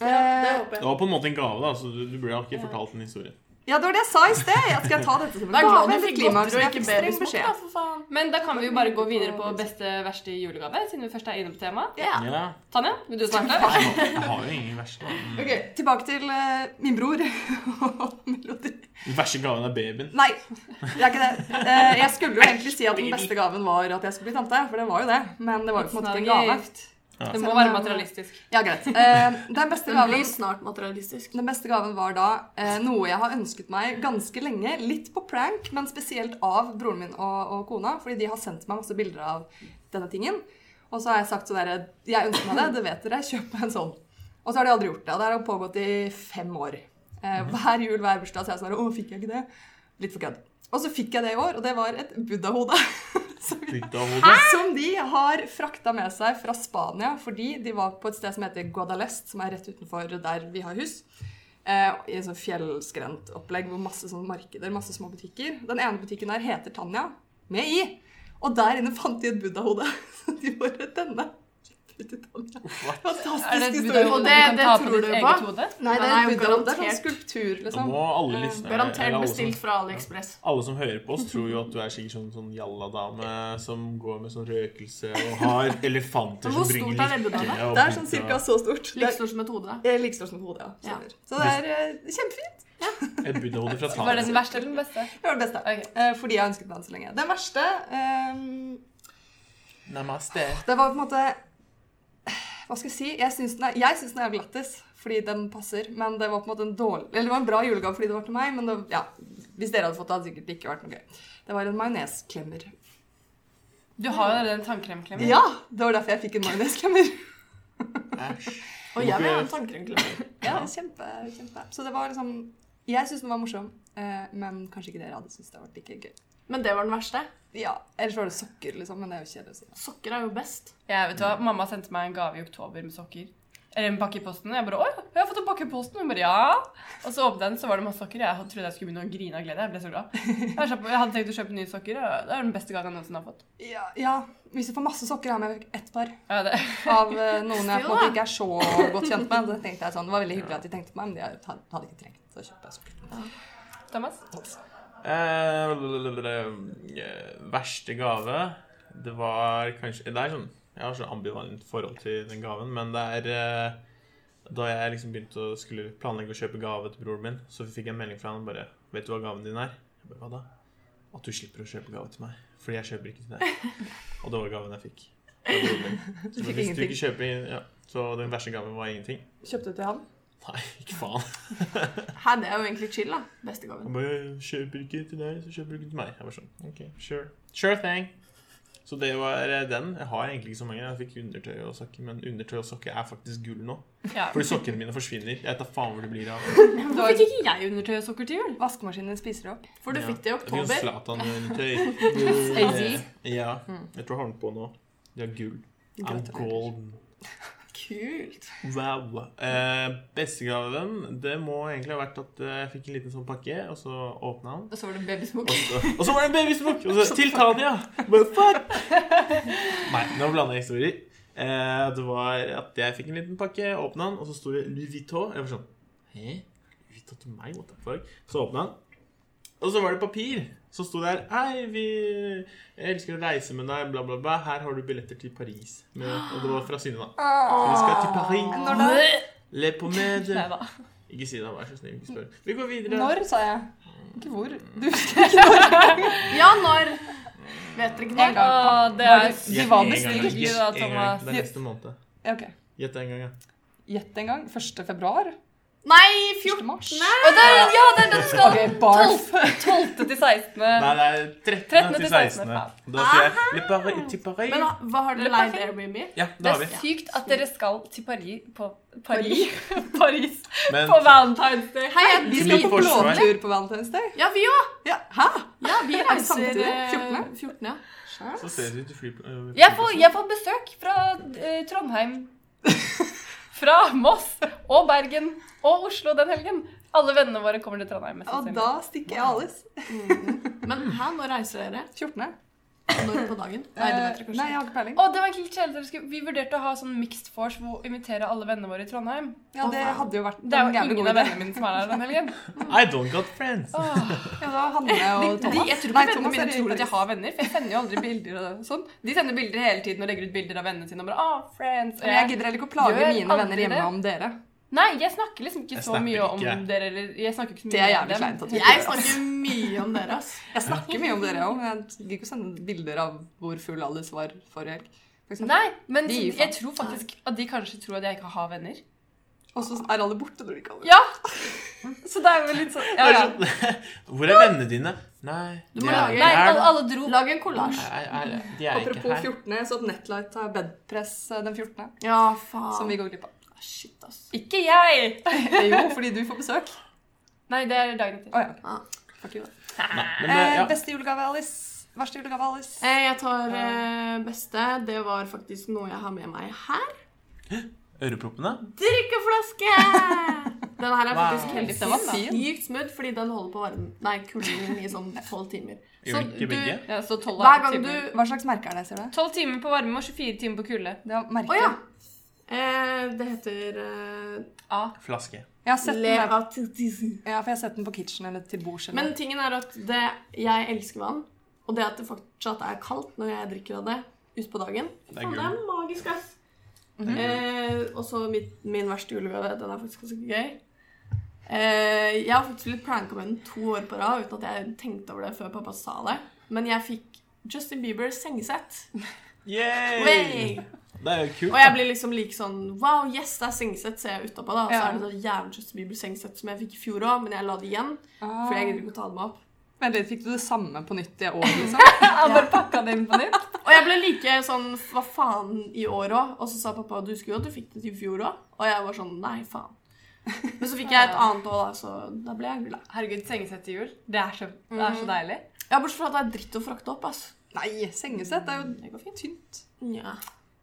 S4: Det
S2: Eh,
S4: håper
S3: Det
S4: jeg.
S3: var på en måte en gave, da, så du, du burde ikke fortalt en historie.
S2: Ja, det var det jeg sa i sted. Jeg skal ta dette som en
S4: Da er
S2: gave.
S4: glad du
S2: eller
S4: fikk
S2: klimaks,
S4: godteri og
S2: men jeg
S4: ikke
S2: fikk streng
S4: babysmokk, da,
S2: beskjed.
S4: for faen.
S1: Men da kan vi jo bare gå videre på beste verste julegave, siden vi først er inne på temaet.
S4: Ja.
S3: Ja.
S1: Tanja, vil du starte?
S3: Jeg har jo ingen verste. da.
S2: Ok, Tilbake til eh, min bror og melodi.
S3: Den verste gaven er babyen.
S2: Nei, det er ikke det. Eh, jeg skulle jo egentlig si at den beste gaven var at jeg skulle bli tante, for det var jo det. Men det var jo på en måte ikke en gave.
S1: Det må være materialistisk.
S2: Ja, greit. Eh, den, beste
S4: Den
S2: gaven,
S4: blir snart materialistisk.
S2: den beste gaven var da eh, noe jeg har ønsket meg ganske lenge. Litt på prank, men spesielt av broren min og, og kona, fordi de har sendt meg masse bilder av denne tingen. Og så har jeg sagt sånn derre Jeg ønsker meg det, det vet dere, kjøp meg en sånn. Og så har de aldri gjort det. Og det har pågått i fem år. Eh, hver jul, hver bursdag, så er jeg sånn herre, Å, fikk jeg ikke det? Litt for kødd. Og så fikk jeg det i år, og det var et buddha-hode. som,
S3: Litt av hodet.
S2: som de har frakta med seg fra Spania, fordi de var på et sted som heter Guadalest, som er rett utenfor der vi har hus. Eh, I en sånn fjellskrent opplegg hvor masse sånne markeder, masse små butikker. Den ene butikken der heter Tanja, med i. Og der inne fant de et buddha-hode. Så de bare denne. til Tanja.
S1: Er det
S2: Fantastisk
S1: et
S2: historie.
S1: buddha-hode du
S4: Og det- det
S1: kan ta
S4: tror
S1: på ditt
S4: du på?
S1: eget hode?
S2: Nei, det
S4: Nei,
S2: er et buddha-hode. Det er sånn
S4: garantert.
S2: skulptur,
S3: Nå
S2: liksom.
S3: må alle lyssnere eller
S4: Garantert
S3: alle som,
S4: bestilt fra AliExpress.
S3: alle som hører på oss, tror jo at du er sikkert sånn, sånn jalla-dame som går med sånn røkelse og har elefanter som
S4: Men hvor
S3: bringer
S4: stort er det buddha, da?
S3: lykke og
S2: Det er sånn
S3: buddha.
S2: cirka så stort. Det
S4: Like
S2: er
S4: stor som et hode.
S2: eh, like stort som hodet, ja.
S4: Ja.
S2: Stemmer. Så det er eh, kjempefint.
S3: Et buddha-hode
S1: Var
S3: fra
S1: det
S3: Tana.
S1: den verste eller den beste?
S2: Det var det beste.
S1: Ok.
S2: Eh, Fordi jeg har ønsket meg den så lenge. Den verste eh,
S3: Namaste.
S2: Det var på en måte Hva skal jeg si? Jeg syns den er, jeg syns den er jævlig lættis fordi den passer, men det var på en måte en dårlig Eller det var en bra julegave fordi det var til meg, men det, ja, hvis dere hadde fått det, hadde det sikkert ikke vært noe gøy. Det var en majonesklemmer.
S1: Du har jo allerede en tannkremklemme.
S2: Ja! Det var derfor jeg fikk en majonesklemmer.
S4: Og jeg vil ha en tannkremklemme.
S2: Ja, kjempe, kjempe. Så det var liksom Jeg syns den var morsom, eh, men kanskje ikke dere hadde syntes det var like gøy.
S4: Men det var den verste.
S2: Ja, Ellers var det sokker, liksom, men det er jo kjedelig å si.
S4: Sokker er jo best.
S1: Jeg vet du hva, Mamma sendte meg en gave i oktober med sokker. Eller en pakke i posten. Jeg bare 'Å, jeg har fått en pakke i posten.' Hun bare 'Ja.' Og så åpnet jeg den, så var det masse sokker. Jeg trodde jeg skulle begynne å grine av glede. Jeg ble så glad. Jeg slapp- jeg hadde tenkt å kjøpe nye sokker. og Det er den beste gangen jeg noensinne har fått.
S2: Ja, ja, hvis du får masse sokker, har jeg med ett par.
S1: Ja, det.
S2: av eh, noen jeg på en måte
S4: Still, da.
S2: ikke er så godt kjent med. Da tenkte jeg sånn, Det var veldig hyggelig at de tenkte på meg, men de hadde hadde ikke trengt å kjøpe sokker.
S1: Thomas?
S3: Eh, eh, verste gave Det var kanskje Det er sånn Jeg har sånn ambivalent forhold til den gaven, men det er eh, Da jeg liksom begynte å skulle planlegge å kjøpe gave til broren min, så fikk jeg en melding fra han bare 'Vet du hva gaven din er?' Jeg bare, Hva da? At du slipper å kjøpe gave til meg. Fordi jeg kjøper ikke til deg. Og det var gaven jeg fikk. fra broren min. Så
S2: fikk
S3: hvis du
S2: ingenting.
S3: ikke kjøper ja. Så den verste gaven var ingenting.
S2: Kjøpte du til han?
S3: Nei, ikke faen.
S4: Her, det er jo egentlig chill, da. Beste gaven.
S3: Han bare kjøper ikke til deg, så kjøper du ikke til meg. Jeg var sånn, ok, sure. Sure thing. Så det var eh, den. Jeg har egentlig ikke så mange. Jeg fikk undertøy og sokker, men undertøy og sokker er faktisk gull nå.
S1: Ja.
S3: Fordi sokkene mine forsvinner. Jeg vet da faen hvor det blir av.
S1: Hvorfor fikk ikke jeg undertøy og sokker til jul?
S2: Vaskemaskinen spiser det opp.
S4: For du
S3: Ja.
S4: fikk det i
S3: Jeg fikk en
S4: oktober.
S3: Zlatan-undertøy.
S1: AZ?
S3: Ja. Jeg tror jeg har den på nå. De har Mm. gull. I'm
S2: Gratulerer.
S3: golden.
S4: Kult.
S3: Wow. Eh, Bestegaven, det må egentlig ha vært at eh, jeg fikk en liten sånn pakke, og så åpna han.
S2: Og så var det babysmokk.
S3: Og så, og så var det en babysmokk! Og så til Tania! Bare fuck! Nei, nå blander jeg historier. Eh, det var at jeg fikk en liten pakke, åpna den, og så sto det Louis Vuitton. Jeg var sånn Hæ? Louis Vuitton til meg? What the fuck? Så åpna den, og så var det papir. Så sto det her Hei, vi elsker å reise med deg, bla, bla, bla. Her har du billetter til Paris. Med, og det var fra Synne, da. Vi skal til Paris.
S2: Når da?
S3: Le pomade.
S1: Ah. Nei da.
S3: Ikke si det, vær så snill. Ikke spør. Vi går videre.
S2: Når, sa jeg. Ikke hvor. Du
S4: Ja, når? Vet dere ikke
S2: En
S4: når?
S2: gang.
S1: Å, det
S2: Var
S1: er
S2: det-
S3: Gjett
S1: Du var
S3: en gang,
S1: bestilt
S3: Gjett
S1: ikke da,
S3: en gang.
S1: Thomas.
S3: Det er neste måned.
S2: Ja, ok.
S3: Gjett en gang, ja.
S2: Gjett en gang. 1. februar?
S4: Nei,
S2: 1.
S4: 14.
S2: mars?
S1: Å, det er, ja, det er det du skal!
S2: Ok, barf.
S1: 12. til 16.
S3: Nei, det er 13.
S1: 13.
S3: til
S1: Eh, til
S3: 16.
S1: 16.
S3: Da sier jeg Le Paris til Paris.
S4: Men da, hva har dere
S1: Eller
S4: leid
S1: parfyme.
S4: Airbnb?
S3: Ja, det
S1: Det
S3: har
S1: er
S3: vi.
S1: sykt at dere skal til Paris på Paris, Paris.
S3: Men
S1: på Valentine's Day.
S4: Hei, jeg-
S2: Vi
S3: Til
S2: skal
S3: mitt
S2: på
S3: forsvar.
S2: blåtur på Valentine's Day.
S4: Ja, vi òg.
S2: Ja, Hæ?
S4: Ja, vi
S2: Er det samtidig?
S4: eh,
S2: 14.?
S4: 14, ja.
S3: så ser vi til fly... øh,
S1: Jeg får, jeg får besøk fra eh, Trondheim, fra Moss og Bergen og Oslo den helgen. Alle vennene våre kommer til Trondheim. mest
S2: Og
S1: sannsynlig.
S2: da stikker jeg alles.
S4: Men hæ, når reiser dere?
S2: 14.
S4: Når på dagen? Nei, det vet dere
S2: Eh, Nei, jeg
S4: kanskje.
S2: har ikke peiling.
S1: Å, det var egentlig litt kjedelig. at dere skulle- Vi vurderte å ha sånn mixed force hvor vi inviterer alle vennene våre i Trondheim.
S2: Ja, det hadde jo vært
S1: Det er
S2: en
S1: jo
S2: jævlig
S1: ingen
S2: god
S1: av
S2: idé.
S1: vennene mine som er der den helgen.
S3: I don't got friends.
S1: Åh,
S2: Ja, da Hanne og
S1: de,
S2: Thomas.
S1: jeg tror
S2: Nei,
S1: ikke vennene
S2: Thomas er
S1: mine
S2: i
S1: tror at jeg
S2: Paris.
S1: har venner, for jeg sender jo aldri bilder og sånn. De sender bilder hele tiden og legger ut bilder av vennene sine og bare ah, friends. Og
S2: Men jeg gidder heller ikke å plage
S1: Gjør
S2: mine
S1: aldri
S2: venner hjemme
S1: det.
S2: om dere.
S1: Nei, jeg snakker liksom ikke
S3: Jeg
S1: så mye
S3: snakker
S1: om
S3: ikke.
S1: dere. Eller, jeg snakker ikke så mye
S2: Det er
S1: om
S2: jævlig
S1: dem.
S2: kleint at du
S4: Jeg snakker mye om dere, ass.
S2: Jeg snakker mye om dere òg, men jeg gidder ikke å sende bilder av hvor full Alice var forrige helg. for eksempel.
S1: Nei, men
S2: De gir
S1: jeg
S2: faen.
S1: tror faktisk at de kanskje tror at jeg ikke har venner.
S2: Og så er alle borte når de kaller.
S1: Ja! Så det er jo litt sånn ja, ja.
S3: Det er sånn- Hvor er vennene dine? Nei,
S4: Du må
S3: de er
S4: lage-
S1: Nei,
S3: her,
S1: alle,
S3: da.
S1: alle dro.
S4: Lag en kollasj.
S3: Nei, nei, nei, De er ikke
S2: Apropos
S3: her.
S2: 14., så at Netlight har bedpress eh, den 14.,
S4: Ja, faen.
S2: som vi går glipp av.
S4: Ah, Shit, ass.
S1: Ikke jeg!
S2: Eh, Jo, fordi du får besøk.
S1: Nei, det er dagen etter.
S2: Å ja.
S4: Ja.
S2: Fuck you, da.
S3: Nei, men det,
S2: Eh,
S3: ja.
S2: beste julegave, Alice. Verste julegave, Alice.
S4: Eh, Jeg tar eh, beste. Det var faktisk noe jeg har med meg her.
S3: Øreproppene?
S4: Drikkeflaske! Den her er
S3: Wow.
S4: faktisk helt
S1: Det var fin.
S4: sykt smudd, fordi den holder på varmen. Nei, kulden i sånn tolv timer.
S3: Gjør vi ikke begge?
S1: Ja, så 12
S4: Hver gang du
S2: Eh, Hva slags merke er det, ser du?
S1: 12 timer på varme og 24 timer på kulde.
S2: Det er merke.
S4: Å ja. Eh, det heter eh,
S3: Flaske.
S2: Jeg har sett den
S4: Le
S2: der.
S4: Atelier.
S2: Ja, for jeg har sett den på kitchen eller til bords. eller
S4: Men
S2: noe.
S4: tingen er at det, jeg elsker vann, og det at det fortsatt er kaldt når jeg drikker av det utpå dagen,
S3: Det er
S4: faen, det er magisk, ass. eh, og så mitt- min verste julegave, den er faktisk ganske gøy. Eh, jeg har faktisk blitt pranka med den to år på rad uten at jeg tenkte over det før pappa sa det. Men jeg fikk Justin Bieber sengesett.
S3: Yay!
S4: Way!
S3: Det er jo kult.
S4: Og jeg blir liksom like sånn Wow, yes, det er sengesett, ser jeg utapå. da Og Så
S2: Ja.
S4: er det det jævla Justin Bieber-sengesett som jeg fikk i fjor òg, men jeg la det igjen.
S2: Ah.
S4: For jeg gidder ikke å ta det med opp.
S2: Vent litt, fikk du det samme på nytt det året, liksom?
S1: Jeg bare pakka det inn på nytt.
S4: Og jeg ble like sånn Hva faen i år òg? Og så sa pappa du skulle jo at du fikk det til i fjor òg. Og jeg var sånn Nei, faen. Men så fikk jeg et annet år, da, så da ble jeg glad.
S1: Herregud, sengesett til jul. Det er så, det
S2: Mm.
S1: er så deilig.
S4: Ja, Bortsett fra at det er dritt å frakte opp, altså.
S2: Nei, sengesett er
S1: Mm,
S2: jo
S4: Det går fint.
S2: tynt.
S4: Nja.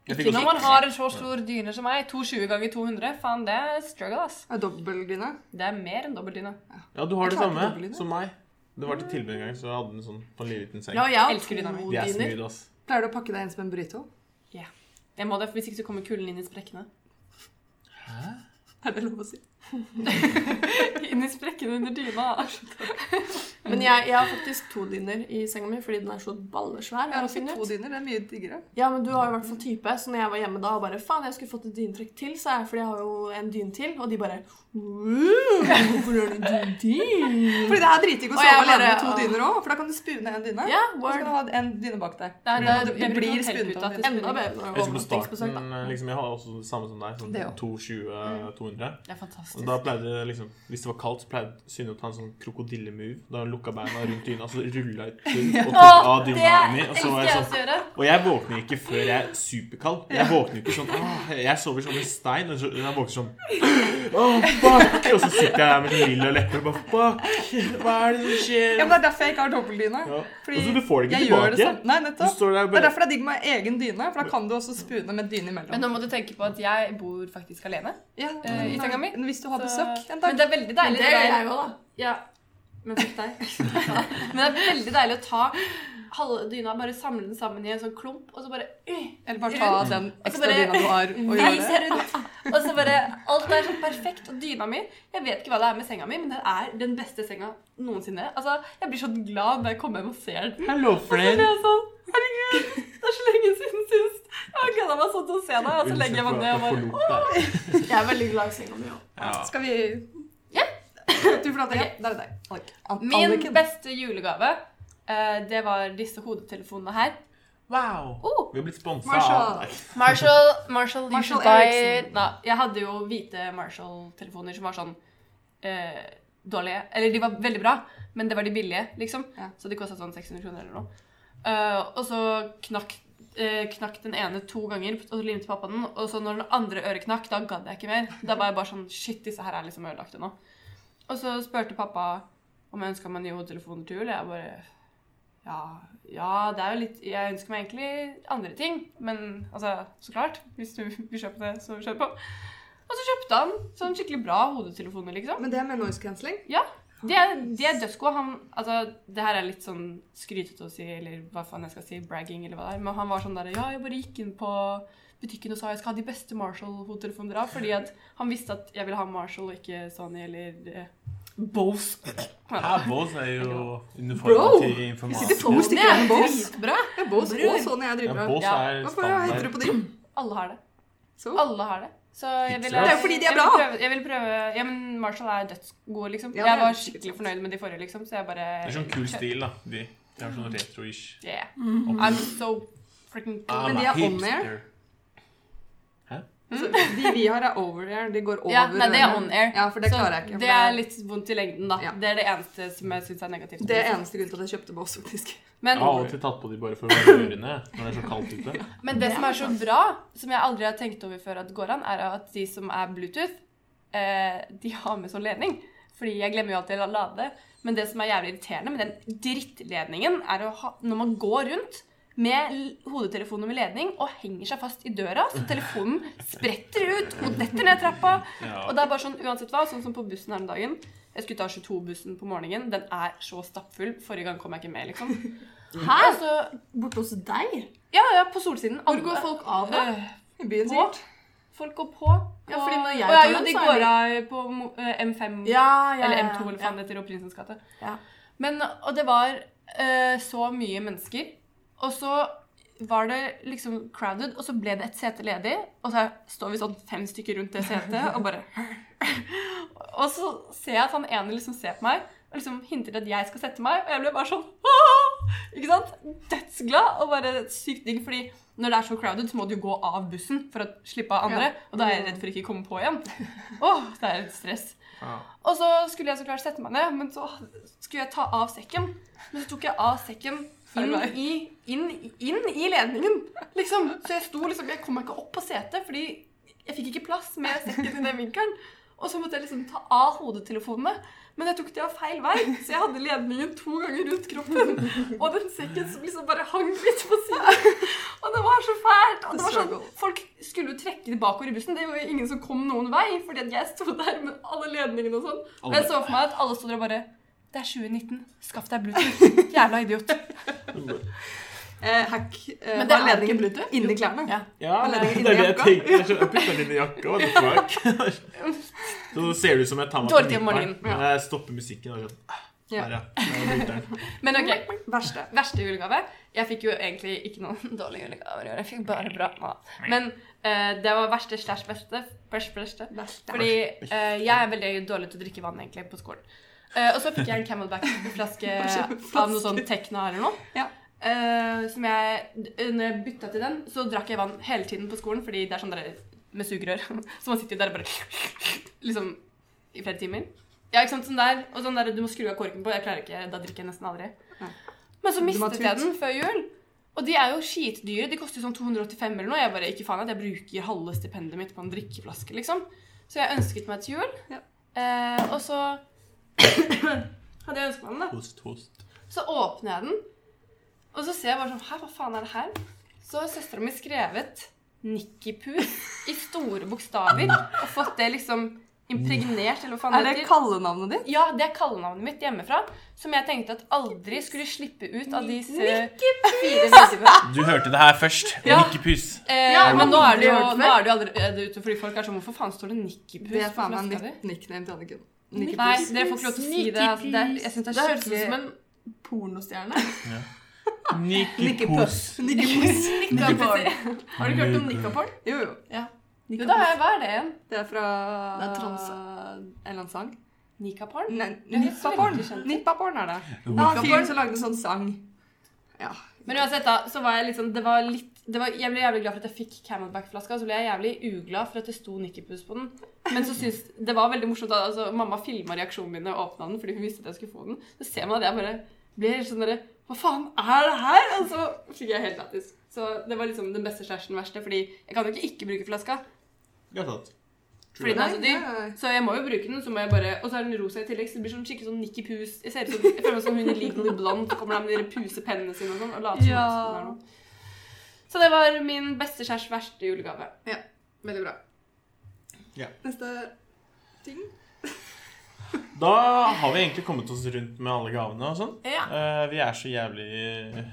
S3: Jeg fikk
S1: Når
S3: også
S1: man har en så stor dyne som meg, 220 ganger 200, faen, det er struggle, ass.
S2: Er Dobbeldyne.
S1: Det er mer enn dobbeltdyne.
S3: Ja, du har det
S2: Jeg klarte ikke å
S3: samme
S2: bli det.
S3: som meg. Det var til tilbud en gang, så jeg hadde den sånn på en liten seng.
S4: Ja, og jeg har
S1: Elsker dynamitt.
S4: to
S3: De er
S4: dyner.
S3: smooth, ass.
S2: Pleier du å pakke deg inn som en burrito?
S1: Jeg må det, for Hvis ikke så kommer kulden inn i sprekkene.
S2: Er det lov å si?
S1: Inn i sprekkene under dyna.
S4: Men jeg, jeg har faktisk to dyner i senga mi fordi den er så
S2: Jeg har
S4: ballesvær. har jeg
S2: også
S4: funnet ut.
S2: to dyner, det er mye diggere.
S4: Ja, men du har jo i hvert fall type. Så når jeg var hjemme da og bare Faen, jeg skulle fått et dynetrekk til, sa jeg, for jeg har jo en dyne til. Og de bare «Wow, Hvorfor har du en dyne til?
S2: Fordi det er dritdigg å
S4: Og jeg
S2: sove alene
S4: bare-
S2: med to dyner òg, for da kan du spune en dyne.
S4: Ja,
S2: Og så kan
S4: word.
S2: du ha en dyne bak deg.
S1: Det, er- det, er-
S2: Det
S1: jeg
S2: blir
S1: bruker
S2: spunnet
S1: hotellputa
S2: opp.
S1: til
S4: Enda
S1: spinning.
S4: bedre
S3: Jeg
S4: når det
S3: husker
S4: var
S3: på
S4: overnastingsbesøk, da.
S3: starten, liksom, jeg har også det samme som deg.
S2: Det også.
S3: Sånn 220-200.
S1: Det er fantastisk.
S3: Og
S4: fantastisk.
S3: da pleide det liksom, Hvis det var kaldt, så pleide Synne å ta en sånn krokodillemove. Da hun lukka beina rundt dyna, så rulla ut og tok av
S1: det
S3: dyna mi. Og, så
S1: elsker
S3: var
S1: jeg
S3: jeg
S1: også
S3: sånn,
S1: å gjøre.
S3: og jeg våkner ikke før jeg er superkald. Jeg våkner ikke sånn «Åh, Jeg sover som en stein. Og så, jeg våkner sånn Åh, fuck! Og så sitter jeg der med sånn lilla lepper og bare Fuck! Hva er det som skjer?
S2: Ja, men Det er derfor jeg ikke har dobbeltdyne.
S3: Ja.
S2: Fordi
S3: Og så du får det ikke
S2: jeg gjør
S3: tilbake.
S2: det samme- Nei,
S3: Du
S2: nettopp.
S3: står der og
S2: Det er
S3: bare
S2: derfor det er digg med egen dyne, for da kan du også spune med dyne imellom.
S1: Men nå må du tenke på at jeg bor faktisk alene.
S2: ja,
S1: eh, i senga mi.
S2: Hvis du har
S1: Så-
S2: besøk en dag.
S1: Men det er veldig
S4: Men
S1: deilig.
S4: det gjør jeg jo, da.
S1: Ja,
S4: Men fikk deg. Men det er veldig deilig å ta halve dyna, bare samle den sammen i en sånn klump, og så bare øh,
S2: Eller bare ta
S4: Rundt.
S2: den
S1: Jeg skal
S2: ekstra
S1: Altså, bare-
S2: dyna du har, og gjøre
S1: Vris
S2: det.
S1: jeg rundt. Og så bare Alt er så perfekt. Og dyna mi Jeg vet ikke hva det er med senga mi, men den er den beste senga noensinne. Altså, Jeg blir så glad når jeg kommer hjem og ser den.
S3: Hello,
S1: Så blir
S3: friend.
S1: jeg sånn Herregud, det er så lenge siden sist. Jeg har gleda meg sånn til å se deg. Og så legger jeg meg ned og bare
S3: bare
S4: Jeg er veldig glad i senga mi òg.
S3: ja.
S2: Skal vi
S1: Ja.
S2: Du får lov til det. Da er det deg. Alec. An-
S1: Min
S2: Anniken.
S1: beste julegave, eh, det var disse hodetelefonene her.
S3: Wow!
S1: Oh.
S3: Vi har blitt sponsa
S2: Marshall.
S3: av Nei.
S1: Marshall, Marshall, you
S2: Marshall
S1: should buy-
S2: Ericsson.
S1: Nei, jeg hadde jo hvite Marshall-telefoner som var sånn eh, dårlige. Eller de var veldig bra, men det var de billige, liksom.
S2: Ja.
S1: Så de kosta sånn 600 kroner eller noe. Eh, og så knakk, eh, knakk den ene to ganger, og så limte pappa den. Og så når den andre øret knakk, da gadd jeg ikke mer. Da var jeg bare sånn Shit, disse her er liksom ødelagte nå. Og så spurte pappa om jeg ønska meg nye hodetelefoner til jul. Jeg bare ja, ja, det er jo litt Jeg ønsker meg egentlig andre ting. Men altså, så klart. Hvis du vil kjøpe det, så kjøp på. Og så kjøpte han sånn skikkelig bra hodetelefoner, liksom.
S2: Men det med noise cancelling
S1: Ja. De er, de er dødsgode. Han Altså, det her er litt sånn skrytete å si, eller hva faen jeg skal si, bragging, eller hva det er, men han var sånn derre Ja, jeg bare gikk inn på butikken og sa jeg skal ha de beste Marshall-hodetelefoner dere har, fordi at han visste at jeg ville ha Marshall og ikke Sony eller eh, Bose.
S3: Ja, Bose er jo
S2: Bro!
S3: uniformen til
S2: Sitter
S3: informanten.
S2: to stykker igjen Bås.
S1: dritbra.
S2: Ja, Bås
S1: Bror.
S2: og sånn jeg
S3: Ja,
S2: driver av.
S3: Bose er
S2: Hvorfor heter du
S3: standard.
S2: på de?
S1: Alle har det.
S2: Så?
S1: Alle har det. Så jeg ville,
S3: Hipster.
S2: Det er jo fordi de er
S1: jeg ville
S2: bra.
S1: Prøve, jeg ville prøve, ja, men Marshall er dødsgode, liksom.
S2: Ja, det
S1: jeg
S2: er
S1: var
S2: sikkert
S1: skikkelig
S2: sant.
S1: fornøyd med de forrige, liksom. Så jeg bare
S3: Det er sånn kul stil, da. De, de har sånn retro-ish.
S1: Yeah.
S3: opplegg.
S1: I'm so freaking cool.
S2: men de er on-air.
S3: hipster.
S2: Altså, de vi har, er over there. De går over
S1: Mm. Ja, nei, det er
S2: ørene.
S1: on air.
S2: Ja, for det
S1: så
S2: klarer jeg ikke. for
S1: det er litt vondt i lengden, da.
S2: Ja.
S1: Det er det eneste som jeg syns er negativt.
S2: det er eneste grunnen til at jeg kjøpte Bås, faktisk.
S1: Men,
S3: Jeg har alltid tatt på de bare for å være ørene når det er så kaldt ute.
S1: men det som er så bra, som jeg aldri har tenkt over før at går an, er at de som er Bluetooth, eh, de har med sånn ledning. Fordi jeg glemmer jo alltid å lade det. Men det som er jævlig irriterende med den drittledningen, er å ha, når man går rundt med l- hodetelefoner med ledning og henger seg fast i døra, så telefonen spretter ut og detter ned trappa.
S3: Ja.
S1: Og det er bare sånn uansett hva, sånn som på bussen her om dagen. Jeg skulle ta 22-bussen på morgenen. Den er så stappfull. Forrige gang kom jeg ikke med, liksom. Hæ? Så,
S4: Borte hos deg?
S1: ja, ja, på solsiden.
S4: Hvor går folk av, da?
S1: Øh,
S2: I
S1: På?
S2: byen, sikkert.
S1: folk går på.
S4: Ja, fordi når jeg
S1: Å, ja,
S4: tar
S1: jo,
S4: den,
S1: de
S4: så er
S1: går
S4: det-
S1: av på mo- øh, M5
S4: Ja, ja, ja.
S1: eller M2 eller
S4: ja.
S1: faen det heter, og Prinsens gate.
S4: Ja.
S1: Men, og det var eh, så mye mennesker, og så var det liksom crowded, og så ble det et sete ledig, og så står vi sånn fem stykker rundt det setet, og bare Og så ser jeg at han ene liksom ser på meg, og liksom hinter til at jeg skal sette meg, og jeg ble bare sånn «Åh!» Ikke sant? Dødsglad, og bare sykt digg, fordi når det er så crowded, så må du jo gå av bussen for å slippe av andre, og da er jeg redd for ikke å komme på igjen. Åh, det er et stress.
S3: Ja.
S1: Og så skulle jeg så klart sette meg ned, men så skulle jeg ta av sekken. Men så tok jeg av sekken inn i, inn, inn i ledningen, liksom. Så jeg sto liksom Jeg kom meg ikke opp på setet, fordi jeg fikk ikke plass med sekken i den vinkelen. Og så måtte jeg liksom ta av hodetelefonene, men jeg tok de av feil vei. Så jeg hadde ledningen to ganger rundt kroppen, og den sekken som liksom bare hang litt på siden. Og det var så fælt. Og det var sånn, folk skulle jo trekke det bakover i bussen. Det var jo ingen som kom noen vei, fordi at jeg sto der med alle ledningene og sånn. Og jeg så for meg at alle sto der og bare Det er 2019. Skaff deg Bluetooth. Jævla idiot.
S2: Eh, hack. Eh,
S1: Men det
S2: ha
S1: er
S2: ledningen
S1: ikke Bluetooth.
S2: Inni klærne.
S1: Ja.
S3: Ja,
S2: Han
S3: det
S2: legger den inn i
S3: er det jeg
S2: jakka.
S3: tenkte. Jeg skjønner- jeg putter den inn i jakka. What the fuck? Så nå ser det ut som jeg tar meg
S1: Dårlig tid om
S3: midtveien,
S1: morgenen.
S3: Men jeg stopper musikken. Og sånn, ah,
S2: Ja.
S3: der, ja. Der er lytteren.
S1: Men ok,
S2: Verste.
S1: verste julegave. Jeg fikk jo egentlig ikke noen dårlige julegaver i år. Jeg fikk bare bra. Nå. Men eh, det var verste slash beste. Beste, beste.
S2: Verste.
S1: Fordi eh, jeg er veldig dårlig til å drikke vann egentlig på skolen. Eh, og så fikk jeg en Camelback-flaske av noe sånn Tekna eller noe.
S2: Ja.
S1: Eh, som jeg, d- når jeg bytta til den, så drakk jeg vann hele tiden på skolen, fordi det er sånn der med sugerør. Så man sitter jo der og bare liksom i flere timer. Ja, ikke sant, sånn der, og sånn der du må skru av korken på. Jeg klarer ikke, Da drikker jeg nesten aldri.
S2: Nei.
S1: Men så
S2: Du må ha
S1: mistet jeg
S2: tut.
S1: den før jul. Og de er jo skitdyre. De koster jo sånn 285 eller noe. Jeg bare, ikke faen at jeg bruker halve stipendet mitt på en drikkeflaske, liksom. Så jeg ønsket meg til jul.
S2: Ja.
S1: Eh, og så hadde jeg ønsket meg den, da.
S3: Host, host.
S1: Så åpner jeg den, og så ser jeg bare sånn Hæ, hva faen er det her? Så har søstera mi skrevet 'Nikkipus' i store bokstaver og fått det liksom impregnert, eller hva faen
S2: Er det kallenavnet ditt?
S1: Ja, det er kallenavnet mitt hjemmefra, som jeg tenkte at aldri skulle slippe ut av disse fire sidene.
S3: Du hørte det her først.
S1: Ja.
S3: Nikkepus.
S1: Eh,
S4: Ja,
S1: men nå er det jo
S4: aldri hørt
S1: nå er det jo allerede ute, fordi folk er sånn Hvorfor faen står det 'Nikkipus'
S2: Det er
S1: på
S2: faen meg
S1: flaska di?
S2: nytt nickname til Anniken.
S1: Nei, dere får ikke lov til å si det. altså, det er- jeg synes det
S4: Det
S1: er
S4: høres ut som
S1: skikkelig
S4: en pornostjerne.
S3: Nikkepus.
S2: Nikkepus.
S4: Nikkapol. Har du ikke hørt om Nikkapol?
S2: Jo, jo.
S1: Jo, da har jeg hva er det igjen?
S2: Det er fra
S4: Det er transe.
S2: En eller annen sang.
S1: Nikaporn?
S2: Nei,
S1: Det høres
S2: Nippaporn.
S1: veldig kjent ut.
S2: Nippaporn er det. Det var
S3: Hvorfor-
S2: en fyr som lagde en sånn sang. Ja.
S1: Men uansett, da, så var jeg liksom Det var litt det var, Jeg ble jævlig glad for at jeg fikk Camelback-flaska, og så ble jeg jævlig uglad for at det sto Nikkipus på den. Men så syns Det var veldig morsomt. da, altså Mamma filma reaksjonen min da jeg åpna den, fordi hun visste at jeg skulle få den. Så ser man at jeg bare ble helt sånn derre Hva faen er det her?! Og så fikk jeg helt lættis. Så det var liksom den beste slashen verste, fordi jeg kan jo ikke ikke bruke flaska.
S3: Ja, sant.
S1: Fordi den er så dyr.
S2: Nei, nei.
S1: Så jeg må jo bruke den, så må jeg bare Og så er den rosa i tillegg, så det blir sånn skikkelig sånn Nikki Pus. Jeg ser ut som Jeg føler meg som hun i Legally Blonde. Så kommer de med de pusepennene sine og sånn og later som
S2: Ja.
S1: at hun er noe. Så det var min beste kjærs verste julegave.
S2: Veldig bra.
S3: Ja.
S2: Neste ting.
S3: Da har vi egentlig kommet oss rundt med alle gavene og sånn.
S4: Ja.
S3: Eh, vi er så jævlig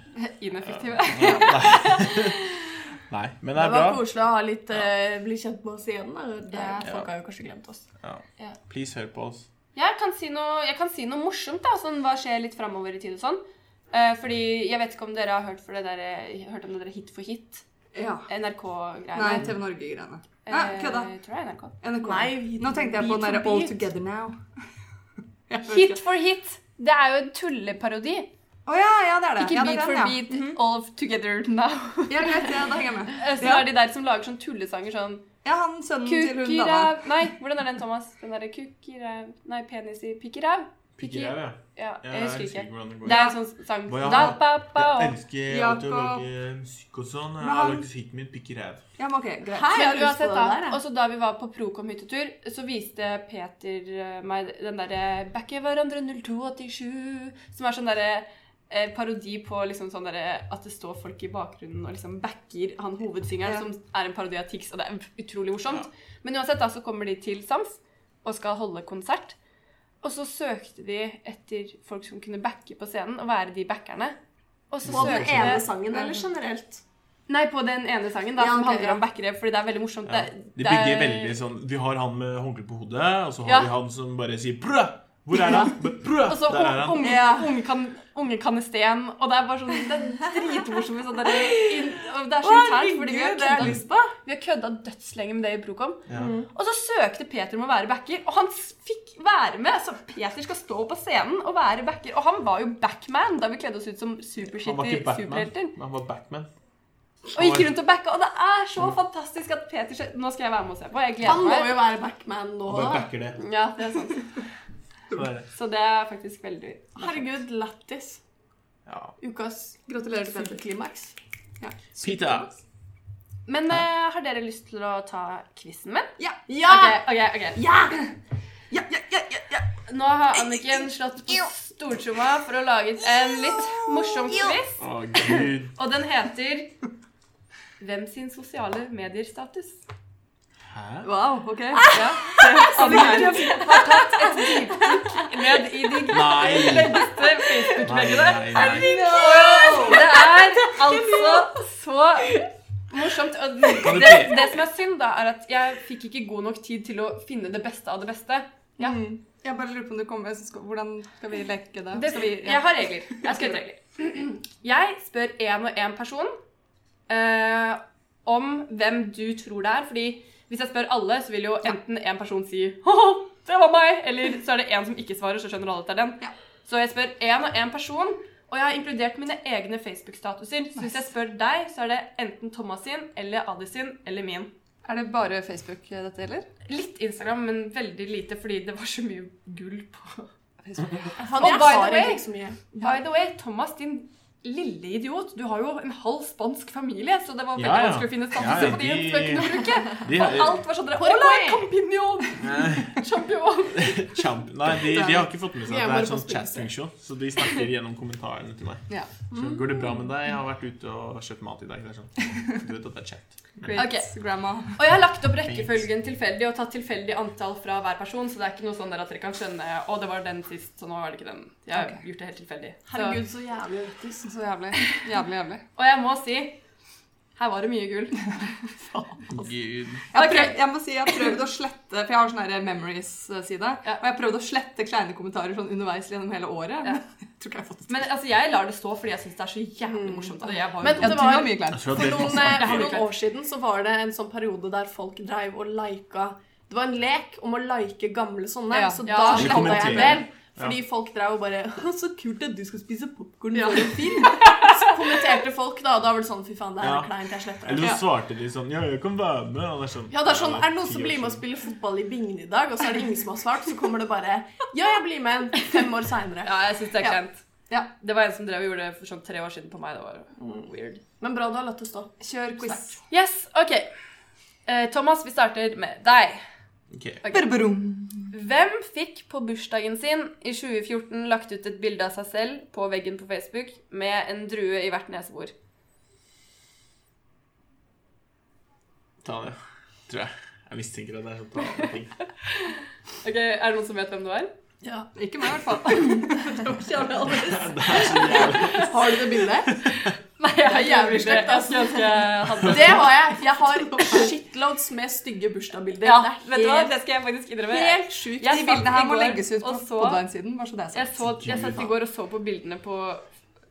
S1: Ineffektive.
S3: Nei, men det
S4: Det
S3: er
S4: var
S3: bra.
S4: koselig å ha litt, eh, bli kjent med oss igjen. Da. Det,
S1: Ja.
S4: Folk har jo kanskje glemt oss.
S3: Please, hør på oss.
S1: Jeg kan si noe, jeg kan si noe morsomt, da, sånn hva skjer litt framover i tid og sånn. Eh, fordi jeg vet ikke om dere har hørt, for det der, hørt om det der Hit for hit,
S2: Ja. Nei,
S1: NRK-greiene.
S2: TV Norge-greiene. Nei, kødda.
S1: Eh, tror jeg er NRK.
S2: NRK.
S4: Nei,
S2: Nå tenkte jeg på den derre
S4: beat for
S2: All
S4: beat.
S2: Together Now. Jeg vet
S1: Hit
S2: ikke.
S1: for hit! Det er jo en tulleparodi.
S2: Å ja, ja, det er det.
S1: Ikke
S2: ja,
S1: Beat
S2: det er den,
S1: for
S2: ja. Mhm.
S1: beat, all together now.
S2: Ja, greit, ja, da henger jeg med.
S1: Eh, Så
S2: Ja.
S1: er de der som lager sånn tullesanger sånn
S2: Ja, han sønnen til hun dama.
S1: Kukkirav Nei, hvordan er den, Thomas? Den derre kukkirav Nei, penis i pikkirav?
S3: Pikkerav, ja.
S1: Ja,
S3: Ja,
S1: jeg husker ikke.
S3: hvordan det går.
S1: Det er en sånn sang
S3: Hva jeg
S1: da,
S3: har-
S1: ba, ba,
S3: Jeg
S1: og.
S3: elsker
S2: Jakob.
S3: alltid å lage musikk og sånn. Jeg
S2: Men
S3: har
S2: han-
S3: lagd musikken min Pikkerav.
S2: Ja, men ok,
S1: Men
S2: greit.
S4: Hæ? Jeg har lyst på
S1: uansett,
S4: den der,
S1: da.
S4: jeg.
S1: Og så da vi var på Procom hyttetur, så viste Peter eh, meg den derre 'Backe hverandre 0287', som er sånn derre eh, parodi på liksom sånn derre at det står folk i bakgrunnen og liksom backer han hovedsingeren,
S2: Ja.
S1: som er en parodi av Tix, og det er utrolig morsomt. Men uansett, da så kommer de til Sams og skal holde konsert. Og så søkte de etter folk som kunne backe på scenen, og være de backerne. Og så
S4: På den
S1: søkte
S4: ene sangen,
S2: eller
S4: eller generelt?
S1: Nei, på den ene sangen, da,
S4: Ja,
S1: som
S4: ok,
S1: handler
S4: ja.
S1: om backere, fordi det er veldig morsomt.
S3: Ja.
S1: Det-
S3: De
S1: det er-
S3: bygger veldig sånn Vi har han med håndkle på hodet, og så har
S1: Ja.
S3: vi han som bare sier 'brø'! Hvor er han? Brø!
S1: Og så
S3: Der er
S1: un-
S3: han.
S1: unge,
S4: Ja.
S1: unge, kan, unge kanesten, og det er bare sånn Det er dritmorsomt. Sånn der, inn- og det er så
S4: Å,
S1: internt, fordi vi har
S4: herregud, det har jeg
S1: kødda-
S4: lyst på.
S1: vi har kødda dødslenge med det i Procom.
S3: Ja.
S1: Og så søkte Peter om å være backer, og han s- fikk være med. Så Peter skal stå på scenen og være backer. Og han var jo backman da vi kledde oss ut som
S3: Han var
S1: supershitty
S3: ikke Batman.
S1: superhelter.
S3: men Han var Batman.
S1: Og gikk rundt og backa, og det er så fantastisk at Peter skjø- Nå skal jeg være med og se på. Jeg
S4: Han
S1: gleder
S4: må
S1: meg.
S4: jo være backman nå.
S3: Han bare
S4: da.
S3: backer det.
S1: Ja, det er sant.
S3: Så det er det.
S1: Så det er faktisk veldig
S4: Herregud, lættis.
S3: Ja.
S4: Ukas
S2: Gratulerer til Petter.
S4: superklimaks.
S3: Peter.
S1: Men eh, har dere lyst til å ta quizen min?
S4: Ja!
S1: Ok, ok, ok.
S4: Ja!
S2: Ja, ja, ja, ja, ja.
S1: Nå har Anniken slått på stortromma for å lage en litt morsom quiz.
S3: Å, gud.
S1: Og den heter Hvem sin sosiale medier-status?
S3: Hæ?
S2: Wow, ok.
S1: Ja, Anne her har tatt et dypdykk ned i de
S3: Nei.
S1: leggeste
S3: Nei,
S1: Facebook-leggene.
S3: nei, nei.
S1: Det er altså så morsomt. Og
S3: du
S1: det,
S3: be-
S1: det som er synd, da, er at jeg fikk ikke god nok tid til å finne det beste av det beste. Ja.
S2: Jeg bare lurer på om du kommer, så skal, hvordan skal vi leke det?
S1: Det,
S2: Skal vi,
S1: Jeg har regler. Jeg, skal ut regler. jeg spør én og én person eh, om hvem du tror det er. Fordi hvis jeg spør alle, så vil jo enten én person si «Haha, det var meg, eller så er det én som ikke svarer, så skjønner alle at det er den.
S2: Ja.
S1: Så jeg spør én og én person, og jeg har inkludert mine egne Facebook-statuser. Så hvis jeg spør deg, så er det enten Thomas sin eller Adi sin eller min.
S2: Er det bare Facebook eh, dette gjelder?
S1: Litt Instagram, men veldig lite fordi det var så mye gull på
S2: Facebook.
S4: Faen,
S1: Og
S4: jeg
S1: by the
S4: har
S1: way-
S4: egentlig ikke så mye.
S1: By the way, Thomas, din lille idiot, du har jo en halv spansk familie, så det var veldig
S3: Ja, ja.
S1: vanskelig å finne
S3: Ja, ja,
S1: statuser på de
S3: de-
S1: spøkene du bruker.
S3: De,
S1: Og alt var sånn der,
S4: Por
S1: Hola,
S4: away!»
S1: companion! Champion!
S3: Champ. Nei, de, de har ikke fått med seg
S4: Vi er
S3: at det
S4: bare
S3: er sånn
S4: på
S3: chat-funksjon, så de snakker gjennom kommentarene til meg.
S2: Ja.
S3: Så,
S4: Mm.
S3: går det bra med deg? Jeg har vært ute og kjøpt mat i dag. Det er sånn. Du vet at det er chat.
S1: Great.
S2: Ok, grandma.
S1: Og jeg har lagt opp rekkefølgen tilfeldig og tatt tilfeldig antall fra hver person, så det er ikke noe sånn der at dere kan skjønne Å, det var den sist, så nå var det ikke den. Jeg har
S2: Ok.
S1: gjort det helt tilfeldig. Så,
S4: Herregud, så jævlig vettis.
S2: Så jævlig. Jævlig, jævlig.
S1: og jeg må si her var det mye gull.
S3: Gud.
S2: Jeg, har
S1: Ok.
S2: prøvd, jeg må si, jeg har prøvd å slette For jeg har sånn her memories-side. Og
S1: Ja.
S2: jeg har prøvd å slette kleine kommentarer sånn underveis gjennom hele året.
S1: Ja.
S2: Jeg tror ikke jeg har fått det til.
S1: Men altså, jeg lar det stå fordi jeg syns det er så jævlig morsomt. Og jeg var jo
S4: Men-
S2: Ja,
S1: dum.
S4: det
S2: du
S4: var-
S2: har mye klær.
S3: Jeg tror at
S4: For
S3: det
S4: noen, eh,
S3: passer.
S1: det
S4: for
S1: har
S4: noen år siden så var det en sånn periode der folk dreiv og lika Det var en lek om å like gamle sånne,
S2: Ja.
S4: så
S1: Ja.
S4: da
S1: Vi
S4: sletta jeg en
S3: kommenterer.
S4: del. Fordi folk dreiv og bare «Å, 'Så kult at du skal spise popkorn
S2: Ja.
S4: for en film'. Så kommenterte folk, da, og da var det sånn 'Fy faen, det her
S3: Ja.
S4: er kleint. Jeg sletter
S3: Eller
S4: det'.
S3: så svarte de sånn Ja, jeg kan være med. Og det er sånn,
S4: Ja, det er sånn, Er det noen som
S3: ti år
S4: blir med og
S3: siden.
S4: spiller fotball i Bingen i dag, og så er det ingen som har svart, så kommer det bare 'Ja, jeg blir med en fem år seinere'.
S1: Ja, jeg syns det er
S4: Ja.
S1: kleint.
S2: Ja.
S1: Det var en som drev og gjorde det for sånn tre år siden på meg. Det var
S3: Mm.
S1: weird.
S4: Men bra du har latt det stå.
S2: Kjør quiz.
S1: Yes, OK. Eh, Thomas, vi starter med deg.
S3: Ok.
S2: Berberum.
S1: Hvem fikk på bursdagen sin i 2014 lagt ut et bilde av seg selv på veggen på Facebook med en drue i hvert nesebor?
S3: Ta det, tror jeg. Jeg mistenker at det er sånn ta det ting.
S1: Ok, Er det noen som vet hvem det var?
S4: Ja.
S2: Ikke meg, i hvert fall.
S3: Det er så jævlig.
S4: Har du det bildet?
S1: Nei, jeg har altså.
S4: Det er
S1: jævlig
S4: jævlig
S1: slekt.
S4: slekt,
S1: Jeg skulle ønske jeg hadde
S4: Det har jeg. Jeg har shitloads med stygge bursdagsbilder.
S1: Ja,
S4: det er
S1: vet du hva?
S4: helt,
S1: Det skal jeg faktisk innrømme. Jeg,
S4: helt
S1: Jeg
S4: sjukt.
S2: De
S1: satt
S2: bildene
S1: i
S2: her må
S1: går
S2: legges ut på
S1: og så-
S2: Podline-siden. Bare så det er
S1: jeg,
S2: sagt.
S1: så, jeg satt i går og så på bildene på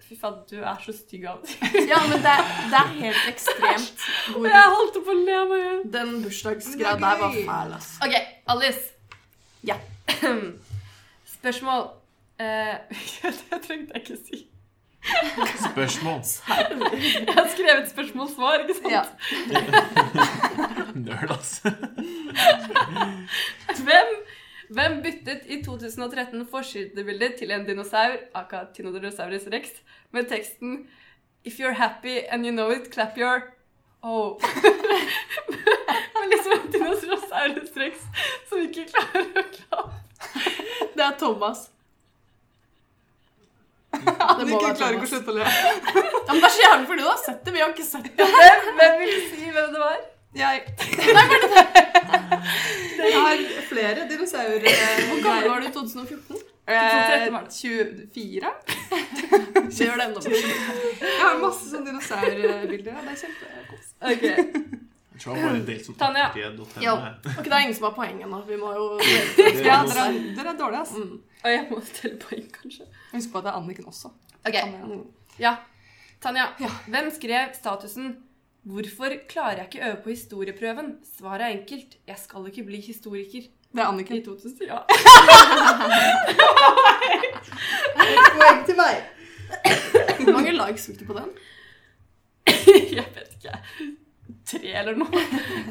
S1: Fy faen, du er så stygg altså. av og til.
S4: Ja, men det, det er helt ekstremt hvor
S1: Jeg holdt på å le av meg.
S4: den bursdagsgreia der var fæl, altså. ass.
S1: OK, Alice.
S4: Ja.
S1: Spørsmål. Eh, det trengte jeg ikke si.
S3: Spørsmål.
S1: Jeg har skrevet spørsmål-svar, ikke sant?
S2: Ja.
S3: Nerd, altså.
S1: Hvem, hvem byttet i 2013 forsidebildet til en dinosaur, aka Tinodorosaurus rex, med teksten If you're happy and you know it, clap your Oh. Men liksom en Dinosaurus rex som ikke klarer å klappe.
S4: Det er Thomas.
S2: Det
S4: Det må
S2: må
S4: være
S2: klarer ikke å
S4: Thomas.
S2: slutte å le.
S4: Ja, men det er så jævlig fordi du har sett det. Vi har ikke sett det.
S1: Hvem, hvem vil si hvem det var?
S2: Jeg Jeg har flere dinosaurer.
S4: Hvor gammel var du i 2014?
S2: Eh,
S1: 2013 var det.
S2: 24?
S4: Det gjør det enda mer.
S2: Jeg har masse sånne dinosaurbilder. Ja, det er kjempekos.
S1: Ok,
S3: Jeg tror jeg bare delt som
S1: Tanja.
S3: artige.no.
S4: Ja. Ok, det er ingen som har poeng ennå. Vi må jo
S3: Det er
S2: Ja,
S3: noe-
S2: dere er, dere er dårlige, ass.
S4: mm.
S1: Og jeg må stelle poeng, kanskje.
S2: Husk på at det er Anniken også.
S1: Ok,
S2: Anne,
S1: ja. Tanja, hvem skrev statusen Hvorfor klarer jeg ikke øve på historieprøven? Svaret er enkelt. Jeg skal ikke bli historiker.
S2: Det er
S1: I
S2: Anniken.
S1: 2000, ja.
S2: Poeng til meg.
S4: Hvor mange likes fikk du på den?
S1: jeg vet ikke, tre eller noe.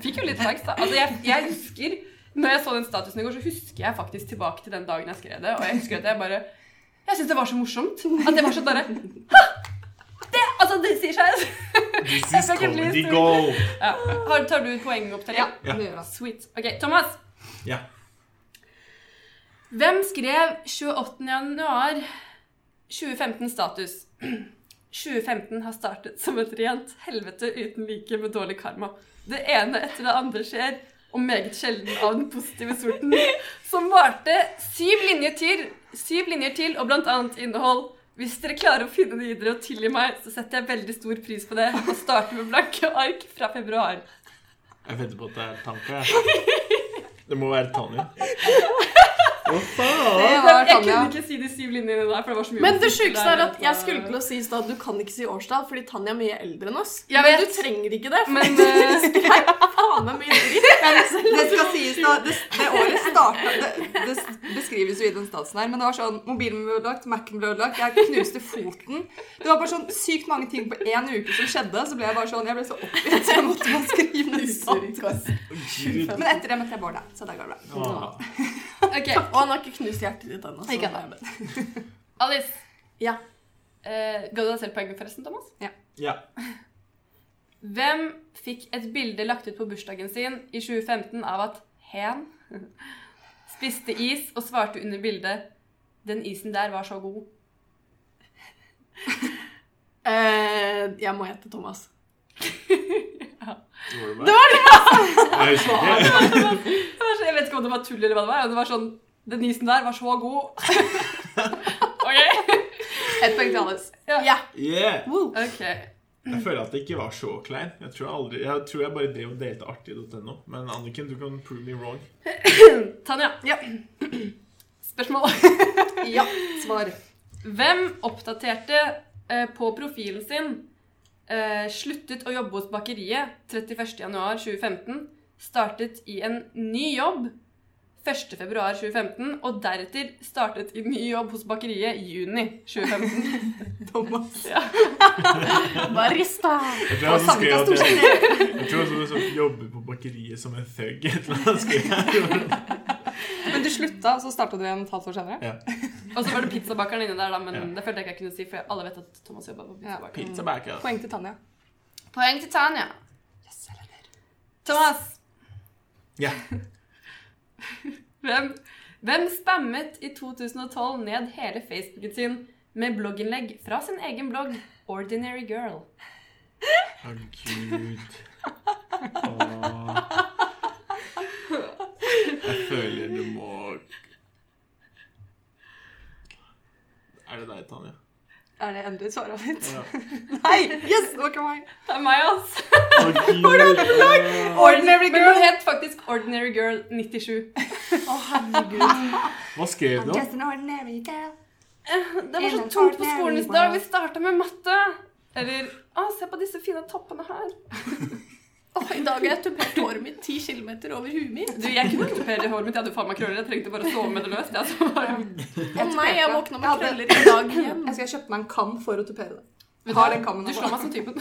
S1: Fikk jo litt flaks, da. Altså, jeg, jeg husker når jeg så den statusen i går, så husker jeg faktisk tilbake til den dagen jeg skrev det. Og jeg husker at jeg bare Jeg syntes det var så morsomt. At det var sånn derre «Hæ? Det, altså, det sier seg.
S3: This
S1: Jeg
S3: is
S1: skal ikke bli
S3: comedy
S1: historiker.
S3: goal.
S1: Ja. Har, tar du poengopptelling?
S2: Ja, det gjør jeg.
S1: Sweet. OK, Thomas.
S3: Ja.
S1: Hvem skrev 28. januar 2015 status? 2015 har startet som et rent helvete uten like med dårlig karma. Det ene etter det andre skjer, og meget sjelden av den positive sorten, som varte syv linjer til, syv linjer til og blant annet innhold. Hvis dere klarer å finne det videre og tilgi meg, så setter jeg veldig stor pris på det og starter med blanke ark fra februar.
S3: Jeg venter på at det er Tanka. jeg. Det må være Tanja. Hva faen?
S2: Det var
S1: Jeg
S2: Tanja.
S1: kunne ikke si de syv linjene der, for det var så mye
S4: Men det
S1: oppskrifter
S4: sjukeste
S1: der,
S4: er at jeg
S1: så-
S4: skulle til å si i stad at du kan ikke si årstall fordi Tanja er mye eldre enn oss.
S1: Jeg
S4: Men
S1: vet.
S4: du trenger ikke det. For
S1: Men eh,
S4: faen meg mye dritt.
S2: Det skal sies da, det, det året starta det, det beskrives jo i den statsen her, men det var sånn Mobilen ble ødelagt, Mac-en ble ødelagt, jeg knuste foten. Det var bare sånn sykt mange ting på én uke som skjedde, så ble jeg bare sånn Jeg ble så oppgitt, så jeg måtte bare skrive ned
S4: Surkås.
S3: Gud.
S2: Men etter det møtte jeg Bård, da. Så da går det bra.
S3: Ah.
S2: Ok,
S4: Og han har ikke knust hjertet ditt ennå. så
S1: Ikke
S4: det er
S1: ennå.
S4: bra.
S1: Alice.
S4: Ja.
S1: Eh, ga du deg selv poeng, forresten, Thomas?
S3: Ja.
S1: Hvem fikk et bilde lagt ut på bursdagen sin i 2015 av at hen spiste is og svarte under bildet 'Den isen der var så god'?
S4: Eh, jeg må gjette Thomas.
S3: Det var det! Jeg husker ikke.
S1: Det var så- Jeg vet ikke om det var tull eller hva det var. og Det var sånn 'Den isen der var så god'. OK?
S2: Ett poeng til Alice.
S4: Ja.
S3: Yeah.
S4: Woo.
S1: Ok.
S3: Jeg føler at det ikke var så klein. Jeg tror jeg, aldri, jeg, tror jeg bare drev og delte artig.no. Men Anniken, du kan prove me wrong.
S1: Tanja.
S2: Ja.
S1: Spørsmål.
S2: Ja, svar.
S1: Hvem oppdaterte eh, på profilen sin eh, 'sluttet å jobbe hos bakeriet' 31.1.2015, startet i en ny jobb 1.2.2015 og deretter startet i ny jobb hos bakeriet i juni 2015?
S2: Thomas.
S4: Barista.
S3: Jeg
S2: Og
S3: tror jeg også skrev
S2: Samika
S3: at
S2: sto
S3: jeg,
S2: seg ned.
S3: jeg tror jeg også jobber på bakeriet som en thug. et eller annet skrev jeg.
S2: Men du slutta, og så starta du igjen et halvt år senere?
S1: Og så var det pizzabakeren inni der, da, men
S3: Ja.
S1: det følte jeg ikke jeg kunne si, for alle vet at Thomas jobba på pizzabakeren.
S3: Pizza altså. backer.
S2: Poeng til Tanja.
S1: Poeng til Tanja.
S2: Yes, jeg leder.
S1: Thomas,
S3: Ja.
S1: hvem, hvem spammet i 2012 ned hele Facebooken sin med blogginnlegg fra sin egen blogg Ordinary Girl?
S3: Å, gud. Åh. Jeg føler du må Er det deg, Tanja?
S2: Er det endelig svaret ditt?
S3: Ja.
S2: Nei! Yes, det var ikke meg.
S1: Det er meg, altså.
S3: Å, gud.
S2: Ordinary
S1: Men hun het faktisk Ordinary Girl 97.
S4: Å, herregud.
S3: Hva skrev du?
S2: an ordinary girl.
S1: Det var sånn så tungt på skolen i dag. Vi starta med matte. Eller Å, se på disse fine toppene her.
S4: Å, I dag har jeg tupert håret mitt 10 km over huet mitt.
S1: Du, Jeg kunne ikke tupere håret mitt. Jeg hadde faen meg krøller. Jeg trengte bare å sove med det løst. Jeg, så bare...
S4: Å nei, jeg våkna med
S2: Jeg hadde-
S4: krøller i dag igjen.
S2: Jeg skal kjøpe meg en kam for å tupere det.
S1: Vet
S2: Har
S1: hva?
S2: den kammen
S1: Du
S2: nå.
S1: slår meg som typen.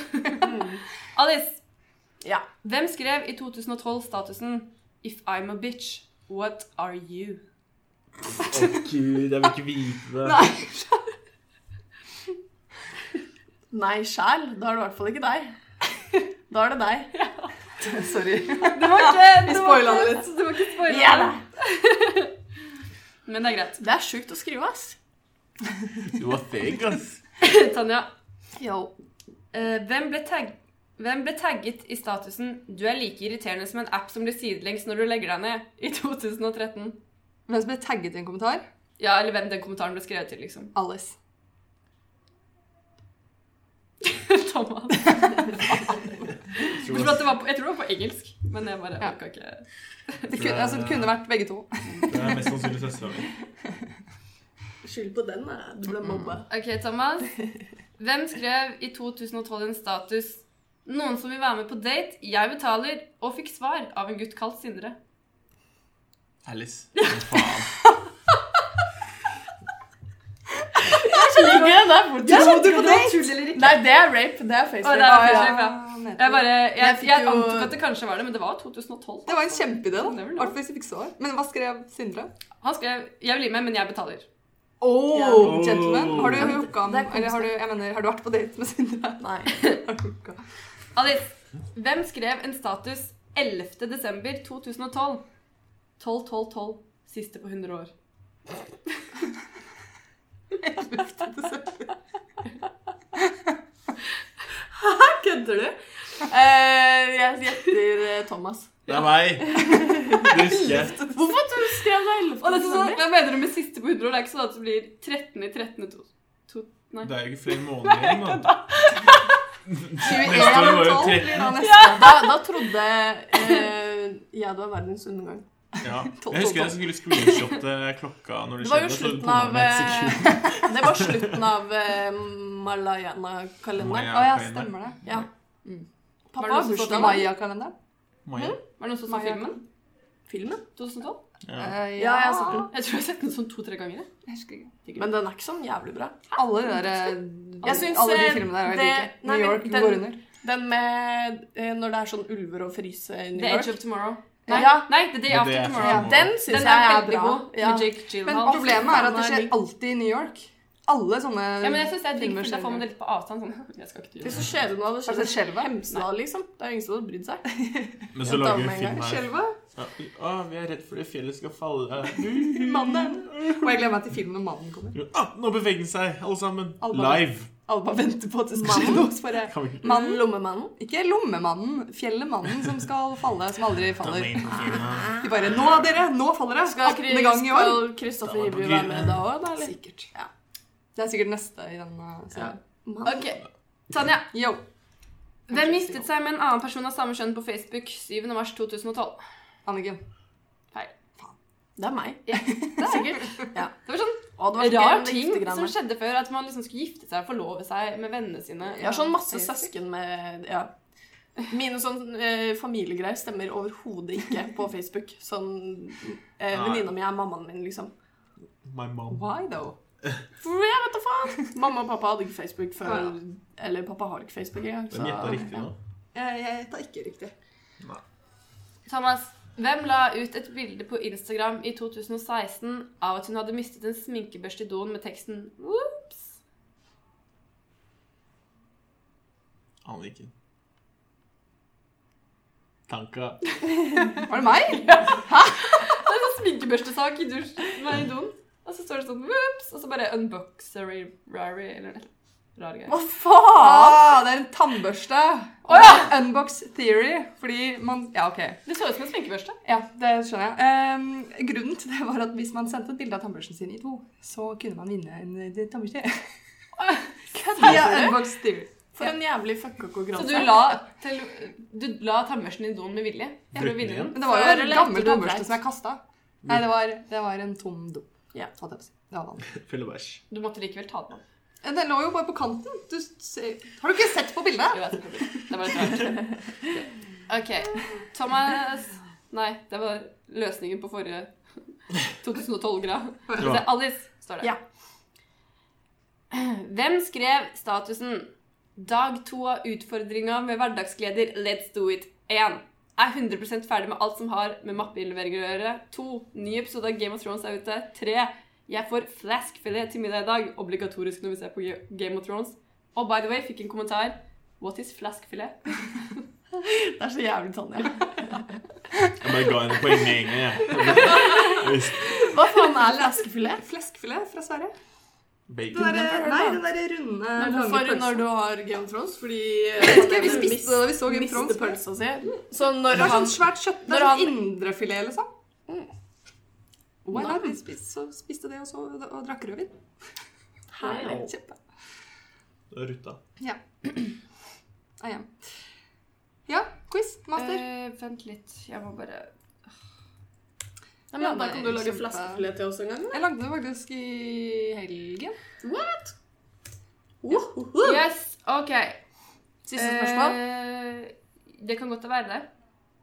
S1: Alice,
S4: Ja.
S1: hvem skrev i 2012 statusen If I'm a bitch, what are you?
S3: Å gud, jeg vil ikke vite det.
S2: Nei.
S4: Nei, sjæl. Da er det i hvert fall ikke deg. Da er det deg.
S2: Sorry.
S1: Det var ikke
S2: Vi spoila det litt.
S1: Det var ikke spoila.
S4: Ja da.
S1: Men det er greit.
S4: Det er sjukt å skrive, ass.
S3: Du var fake, ass.
S1: Tanja,
S4: Yo.
S1: eh, hvem ble tagg... Hvem ble tagget i statusen 'Du er like irriterende som en app som blir sidelengs når du legger deg ned' i 2013?
S2: Hvem som ble tagget i en kommentar?
S1: Ja, eller hvem den kommentaren ble skrevet til, liksom.
S2: Alice.
S1: Thomas.
S3: Jeg
S1: Jeg
S3: tror
S1: tror, at
S3: det
S1: det var på, jeg tror det var på engelsk, men jeg bare
S2: Ja.
S1: orka ikke
S2: Det kunne, altså, det kunne vært begge to.
S3: det er mest sannsynlig søstera mi.
S4: Skyld på den, da. Du ble mobba.
S1: Ok, Thomas. Hvem skrev i 2012 en status 'Noen som vil være med på date? Jeg betaler.' og fikk svar av en gutt kalt Sindre.
S3: Alice. Å, faen.
S4: Ligger den der borte?
S2: Dro du på date?
S4: Nei, det er rape. Det
S1: Å, det
S4: er
S1: er
S4: Facebook.
S1: rape.
S2: nedtur.
S1: Jeg bare, jeg,
S4: Jeg fikk
S1: jeg
S4: jo-
S1: antok at det kanskje var det, men det var 2012.
S2: Det var en kjempeidé, da.
S1: Det er vel
S2: I
S1: lov.
S2: hvert fall hvis jeg fikk svar. Men hva skrev Sindre?
S1: Han skrev 'Jeg blir med, men jeg betaler'.
S2: Oh,
S3: Ja.
S2: Gentleman. Har du
S3: Ja, men
S4: det-
S2: hooka
S4: det er
S2: med Eller har du, jeg mener, har du vært på date med Sindre?
S4: Nei.
S2: Har du hooka?
S1: Alice, hvem skrev en status 11. desember 2012? 12, 12, 12. Siste på 100 år.
S4: Kødder du? Eh, jeg gjetter eh, Thomas.
S3: Det er meg. Det husker jeg.
S4: Hvorfor tror du skrev det
S1: Og det er sånn, Hva mener du med siste på 100 år? Det er ikke sånn at det blir 13 i 13 to, to, Nei.
S3: Det er jo ikke flere måneder igjen, da. Neste år var jo
S2: 21
S3: 13.
S2: blir da neste.
S4: Da, da trodde eh, jeg det var verdens undergang.
S3: Ja.
S2: Tolv,
S3: Jeg husker jeg
S2: tolv,
S3: skulle screenshotte klokka når det
S4: Det var jo
S3: skjedde. så
S4: slutten
S3: bomma
S4: av
S3: med et sekund.
S4: eh, Det var slutten av eh, Malayana-kalenderen.
S2: Å ja, stemmer det.
S4: Ja.
S1: Var det
S4: Pappa har
S1: noen som så
S4: bursdag
S1: den?
S4: i mai.
S2: Maya-kalenderen?
S3: Maja?
S1: Var det noen som så
S2: Maja.
S1: filmen?
S4: Filmen?
S1: 2012?
S3: Ja.
S2: Eh,
S4: Ja, jeg har sett den.
S1: Jeg tror jeg har sett den sånn to-tre ganger. jeg.
S2: Jeg husker ikke.
S4: Men den er ikke sånn jævlig bra.
S2: Alle, de der,
S4: Jeg syns,
S2: alle de
S4: eh,
S2: filmene der er
S4: det-
S2: like.
S4: nei,
S2: New
S4: men
S2: York
S4: den-
S2: går under.
S4: Den med eh, når det er sånn ulver og fryse i New
S1: The Edge
S4: York.
S1: of Tomorrow.
S4: Nei.
S1: Nei, nei The Day
S3: The
S1: After
S3: Day After
S1: Tomorrow.
S4: Ja,
S3: Tomorrow.
S4: den syns
S1: Den
S4: jeg
S1: er
S4: er
S1: veldig
S4: bra.
S1: god
S4: Ja.
S1: med Jake
S2: Men
S1: Gyllenhaal.
S2: problemet er at det
S4: faen,
S2: skjer
S4: jeg-
S2: alltid i New York. Alle sånne
S1: Ja, men jeg synes det er digg,
S2: filmer
S1: for da
S2: skjer i
S1: får man det
S2: New York.
S1: litt på avstand. Sånn. Jeg skal ikke til
S4: Hvis
S1: New
S4: det skjer noe, det
S2: Har du
S4: skjer
S2: sett Skjelvet?
S4: Hemsedal, liksom. Det er jo ingen som hadde brydd seg.
S3: Men så
S4: Ja,
S3: lager
S4: damer
S3: vi
S4: en
S3: film
S4: gang.
S3: her.
S2: Skjelvet?
S3: Ja, Å, vi er redd for det fjellet skal falle.
S2: Mannen. Og jeg gleder meg til filmen når mannen kommer.
S3: Ah, nå beveger den seg, alle sammen.
S2: Alle bare-
S3: Live.
S2: Alle bare venter på at det skal skje noe. så bare...
S3: Kan vi ikke
S4: Mannen, Mm. lommemannen.
S2: Ikke lommemannen, fjellemannen som skal falle, som aldri
S3: ta
S2: faller.
S3: med inn på filmen?
S2: De bare 'Nå, dere! Nå faller det!'
S4: Skal
S2: 18.
S4: Chris-
S2: gang i år.
S4: skal Kristoffer
S3: Da var det
S4: Hivju
S3: på
S4: være
S3: tide.
S4: med da òg, da? Eller?
S2: Sikkert. Ja. Det er sikkert neste i den uh, serien.
S4: Mann.
S1: Ok, Tanja.
S2: Yo.
S1: Hvem mistet seg med en annen person av samme kjønn på Facebook 7. mars 2012?
S2: Anniken.
S4: Det er meg.
S1: Det er sikkert.
S4: Ja.
S1: Det var sånn
S4: Og
S1: rar ting som skjedde før, at man liksom skulle gifte seg og forlove seg med vennene sine.
S4: Jeg har sånn masse
S1: Facebook.
S4: søsken med ja. Mine sånn eh, familiegreier stemmer overhodet ikke på Facebook. Sånn eh,
S3: Nei.
S4: Venninna mi er mammaen min, liksom.
S3: My mom.
S2: Why though?
S4: For jeg vet da faen! Mamma og pappa hadde ikke Facebook før.
S2: Ja.
S4: Eller pappa har ikke Facebook engang.
S3: Den gjetta riktig nå.
S2: Jeg, jeg gjetta ikke riktig.
S1: Thomas, hvem la ut et bilde på Instagram i 2016 av at hun hadde mistet en sminkebørste i doen med teksten Whoops?
S3: Aner ikke. Tanka.
S2: Var det meg?
S1: Det er sånn sminkebørstesak i dusjen, nei, i doen. Og så står det sånn Whoops! Og så bare unboxery rary eller noe. Rar greie.
S4: Hva faen?!
S2: Ah, det er en tannbørste.
S1: Å ja!
S2: Unbox theory. Fordi man Ja, OK.
S1: Det så ut som en sminkebørste.
S2: Ja, Det skjønner jeg. Ehm, grunnen til det var at hvis man sendte et bilde av tannbørsten sin i to, så kunne man vinne en eh, tannbørste. Via unbox theory.
S4: For en jævlig fucka
S1: Så
S4: konkurranse.
S1: du la, til, du la tannbørsten i doen med vilje? For å
S3: Brukte
S1: vinne den?
S3: den
S2: Men det var jo
S4: Før
S2: en
S4: eller etter
S2: gammel
S4: du hadde
S2: tannbørste
S4: reist?
S2: som jeg kasta. Nei, det var, det var en tom do.
S4: Ja.
S2: holdt jeg på å si. Det var vanlig. Eh,
S3: Full av bæsj.
S1: Du måtte likevel ta den av.
S2: Den lå jo bare på kanten. Du, ser- har du ikke sett på bildet?
S1: Jo, jeg skal prøve. Det var litt rart. OK. Thomas Nei, det var løsningen på forrige 2012-grad.
S3: Ja.
S1: Altså, Alice, står det.
S4: Ja.
S1: Hvem skrev statusen 'Dag to av utfordringa med hverdagsgleder Let's do it 1'? Er 100 ferdig med alt som har med mappeinnleveringer å gjøre. 2. Ny episode av Game of Thrones er ute. 3. Jeg får flaskfilet til middag i dag. Obligatorisk når vi ser på Ge- Game of Thrones. Og by the way, fikk en kommentar. What is flaskfilet?
S4: Det er så jævlig sånn, Tanja.
S3: Jeg bare ga henne poeng med en gang. jeg. Jeg visste-
S4: Hva faen er leskefilet?
S2: Fleskfilet fra Sverige.
S3: Bacon.
S2: Den derre-
S4: Den
S2: nei, den derre runde,
S4: Men
S2: lange
S4: hvorfor
S2: pølsen.
S4: når du har Game of Thrones? Fordi
S2: Jeg husker vi spiste det da vi så Game of Thrones. Mm.
S4: Miste pølsa si. Så
S2: Det
S4: når
S2: var
S4: han
S2: sånn svært kjøtt. Det
S4: når
S2: er sånn
S4: han- Mm.
S2: indrefilet, liksom. Why
S4: Nam.
S2: not? Vi spiste, så spiste det, og, så, og drakk rødvin.
S4: Herlig.
S2: Kjempe.
S3: Det var Rutta.
S2: Ja. I am. Ah, Ja, quiz, master.
S1: Eh, vent litt, jeg må bare
S4: Ja, men Da
S2: Ja,
S4: kan du lage
S2: kjempe-
S4: flaskefilet til oss en gang. da.
S2: Jeg lagde det faktisk i helgen.
S1: Yes, OK.
S4: Siste spørsmål.
S1: Eh, det kan godt være det.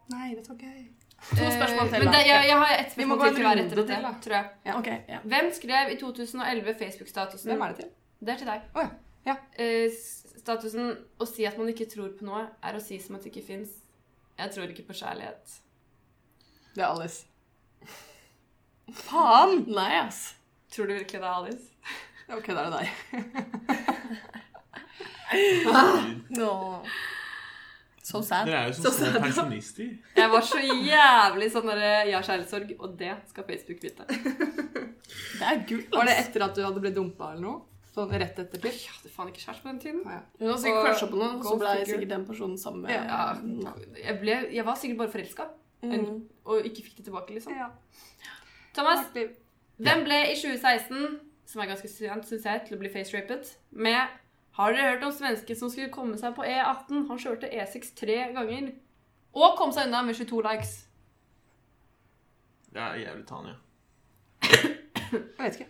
S2: Nei, dette var gøy.
S4: To spørsmål
S1: Eh,
S4: til.
S1: Men det,
S4: da.
S1: jeg, jeg har ett
S2: Vi må
S1: spørsmål
S2: gå en
S1: til til hver
S2: runde
S1: etter dette,
S2: til, da.
S1: tror jeg.
S2: Ja.
S4: Ok, ja.
S1: Hvem skrev i 2011 Facebook-statusen
S2: Hvem er det til?
S1: Det er til deg.
S2: Å ja. Ja.
S1: Eh, s- statusen 'Å si at man ikke tror på noe, er å si som at det ikke fins'. Jeg tror ikke på kjærlighet.
S2: Det er Alice. Faen!
S4: Nei, ass.
S1: Tror du virkelig det er Alice?
S2: Ok, da er det deg.
S4: So sad.
S3: Dere er jo som små pensjonister.
S1: Jeg var så jævlig sånn derre 'ja, kjærlighetssorg', og det skal Facebook vite.
S4: Det er gull,
S2: Var det
S4: ass.
S2: etter at du hadde blitt dumpa eller noe? Ah, Sånn rett etterpå?
S1: Jeg hadde faen ikke kjæreste på den tiden.
S4: Hun har sikkert
S1: Og-
S4: crusha på noen, og så
S1: Gold
S4: ble
S1: digger.
S4: sikkert den personen sammen med
S1: Ja,
S4: Nei.
S1: jeg, ble, jeg var sikkert bare forelska,
S4: Mm.
S1: og ikke fikk det tilbake, liksom.
S2: Ja.
S1: Thomas, Hvem ble i 2016, som er ganske sent, synes jeg, til å bli facerapet, med Har dere hørt om svensken som skulle komme seg på E18? Han kjørte E6 tre ganger. Og kom seg unna med 22 likes.
S3: Det er jævlig Tanja.
S2: Jeg vet ikke.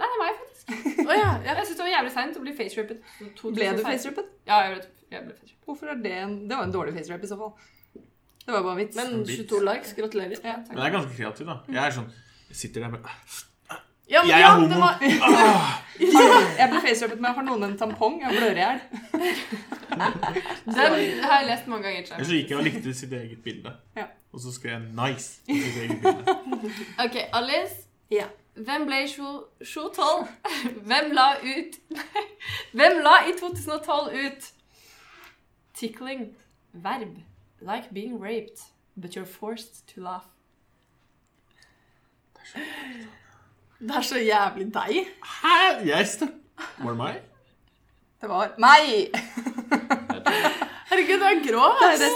S1: Nei, det er meg, faktisk.
S4: Å ja, ja.
S1: Jeg synes det var jævlig seint å bli facerapet.
S2: Ble du facerapet?
S1: Ja, jeg ble, jeg ble facerapet.
S2: Hvorfor er det en Det var en dårlig facerap i så fall. Det var jo bare en vits.
S4: Men 22 likes, gratulerer.
S1: Ja,
S3: Men
S1: takk.
S3: jeg er ganske kreativ, da. Jeg er sånn Jeg sitter der med
S4: Ja, men
S3: Jeg er
S4: ja,
S3: homo. Ah!
S4: det var
S2: Jeg ble facerapet med 'Har noen en tampong?' Jeg blør i hjel.
S1: Den har jeg lest mange ganger.
S3: Eller
S1: Selv.
S3: så gikk jeg og likte sitt eget bilde.
S2: Ja.
S3: Og så skrev jeg 'nice' på sitt eget bilde.
S1: Ok, Alice.
S4: Ja.
S1: Hvem ble i 2012? Hvem la ut Nei. Hvem la i 2012 ut Tickling. Verb. Like being raped, but you're forced to laugh.
S4: Det er så jævlig deg.
S3: Hæ? Jeg støt... Var det meg?
S2: Det var meg!
S4: Herregud, du er grå.
S2: Hæ? Det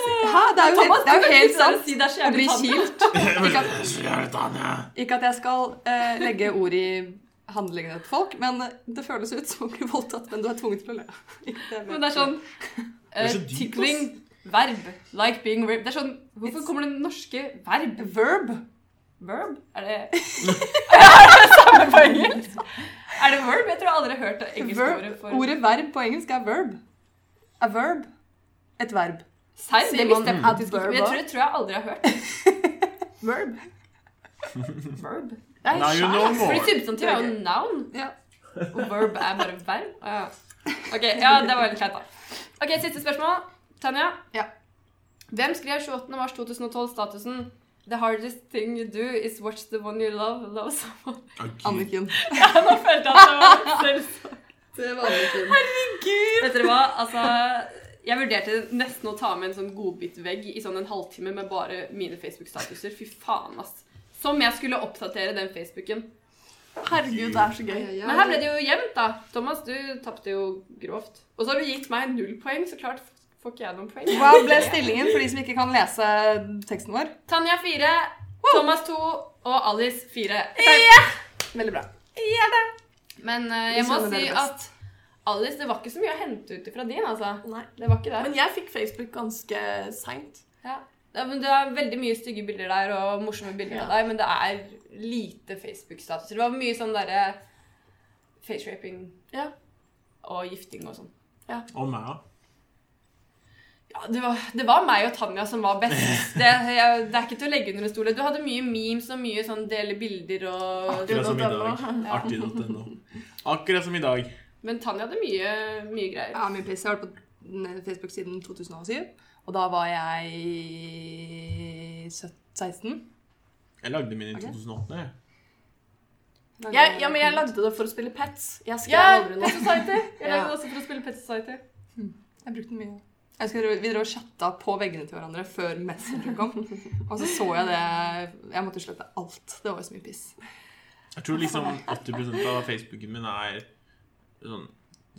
S2: er jo helt, det er jo helt sant.
S1: Si det er så
S2: Jeg
S1: jævlig
S2: blir
S1: sant.
S2: kilt. Ikke at, ikke at jeg skal eh, legge ord i handlingene til folk, men det føles ut som å bli voldtatt, men du er tvunget til å le. Det er
S1: Men det er sånn
S3: er
S1: eh,
S3: så dypt, ass.
S1: Tickling. Verb. Like being raped. Det er sånn Hvorfor kommer det norske verb?
S2: Verb.
S1: Verb? Er det Er det samme på engelsk? Er det verb? Jeg tror jeg aldri har hørt det engelske
S2: Verb.
S1: ordet for
S2: Ordet verb på engelsk er verb. A verb. Et verb.
S1: Serr? Det
S4: Sier man
S1: visste jeg faktisk ikke.
S4: adverb
S1: men Jeg tror, jeg
S4: også?
S1: tror jeg aldri har hørt
S4: Verb.
S1: verb.
S4: Det er
S3: Now you know
S4: skjær.
S1: Fordi
S3: more.
S1: substantiv er jo noun,
S2: Ja.
S1: og verb er bare verb. Å, ja. Ok, ja, det var litt kleint, da. Ok, Siste spørsmål. Tanja.
S2: Ja.
S1: Hvem skrev 28. mars 2012 statusen The hardest thing you do is watch the one you love love someone.
S3: Å, Gud.
S2: Anniken.
S1: Ja, nå følte jeg at det var selv.
S2: Det var Anniken.
S1: Vet dere hva? Altså, jeg vurderte nesten å ta med en sånn godbitvegg i sånn en halvtime med bare mine Facebook-statuser. Fy faen, ass. Som jeg skulle oppdatere den Facebooken.
S4: Herregud, det er så gøy.
S1: Men her ble det jo jevnt, da. Thomas, du tapte jo grovt. Og så har du gitt meg null poeng, så klart får ikke jeg noen poeng.
S2: Hva ble stillingen for de som ikke kan lese teksten vår?
S1: Tanja fire, Thomas to og Alice fire.
S2: Veldig bra.
S1: Men eh,
S2: Vi
S1: jeg må
S2: skjønner
S1: si
S2: dere
S1: at Alice, det var ikke så mye å hente ut ifra din, altså.
S4: Nei.
S1: Det var ikke det.
S4: Men jeg fikk Facebook ganske seint.
S1: Ja. Ja, men Du har veldig mye stygge bilder der og morsomme bilder av deg, men det er lite Facebook-statuser. Det var mye sånn derre faceraping
S4: Ja.
S1: og gifting og sånn.
S3: Og meg, da?
S1: Ja, det var, det var meg og Tanja som var best. Det, jeg, det er ikke til å legge under en stol. Du hadde mye memes og mye sånn dele bilder og
S3: Akkurat som i dag.
S4: Akkurat.no.
S3: Artig.no. Akkurat som i dag.
S1: Men Tanja hadde mye, mye greier.
S2: Ja, min piss. Jeg har vært på den Facebook siden 2007, og da var jeg 17 16.
S3: Jeg lagde min i
S2: Ok.
S3: 2008. jeg.
S4: Jeg, ja, men jeg lagde det for å spille pets. Jeg skrev
S1: Ja,
S4: aldri
S1: Pet
S4: noe.
S1: Society. Jeg lagde
S4: Ja.
S1: det også for å spille Pet Society.
S2: Jeg brukte den mye. Jeg husker Vi drev og chatta på veggene til hverandre før Messenger kom. Og så så jeg det Jeg måtte slette alt. Det var jo så mye piss.
S3: Jeg tror liksom 80 av Facebooken min er sånn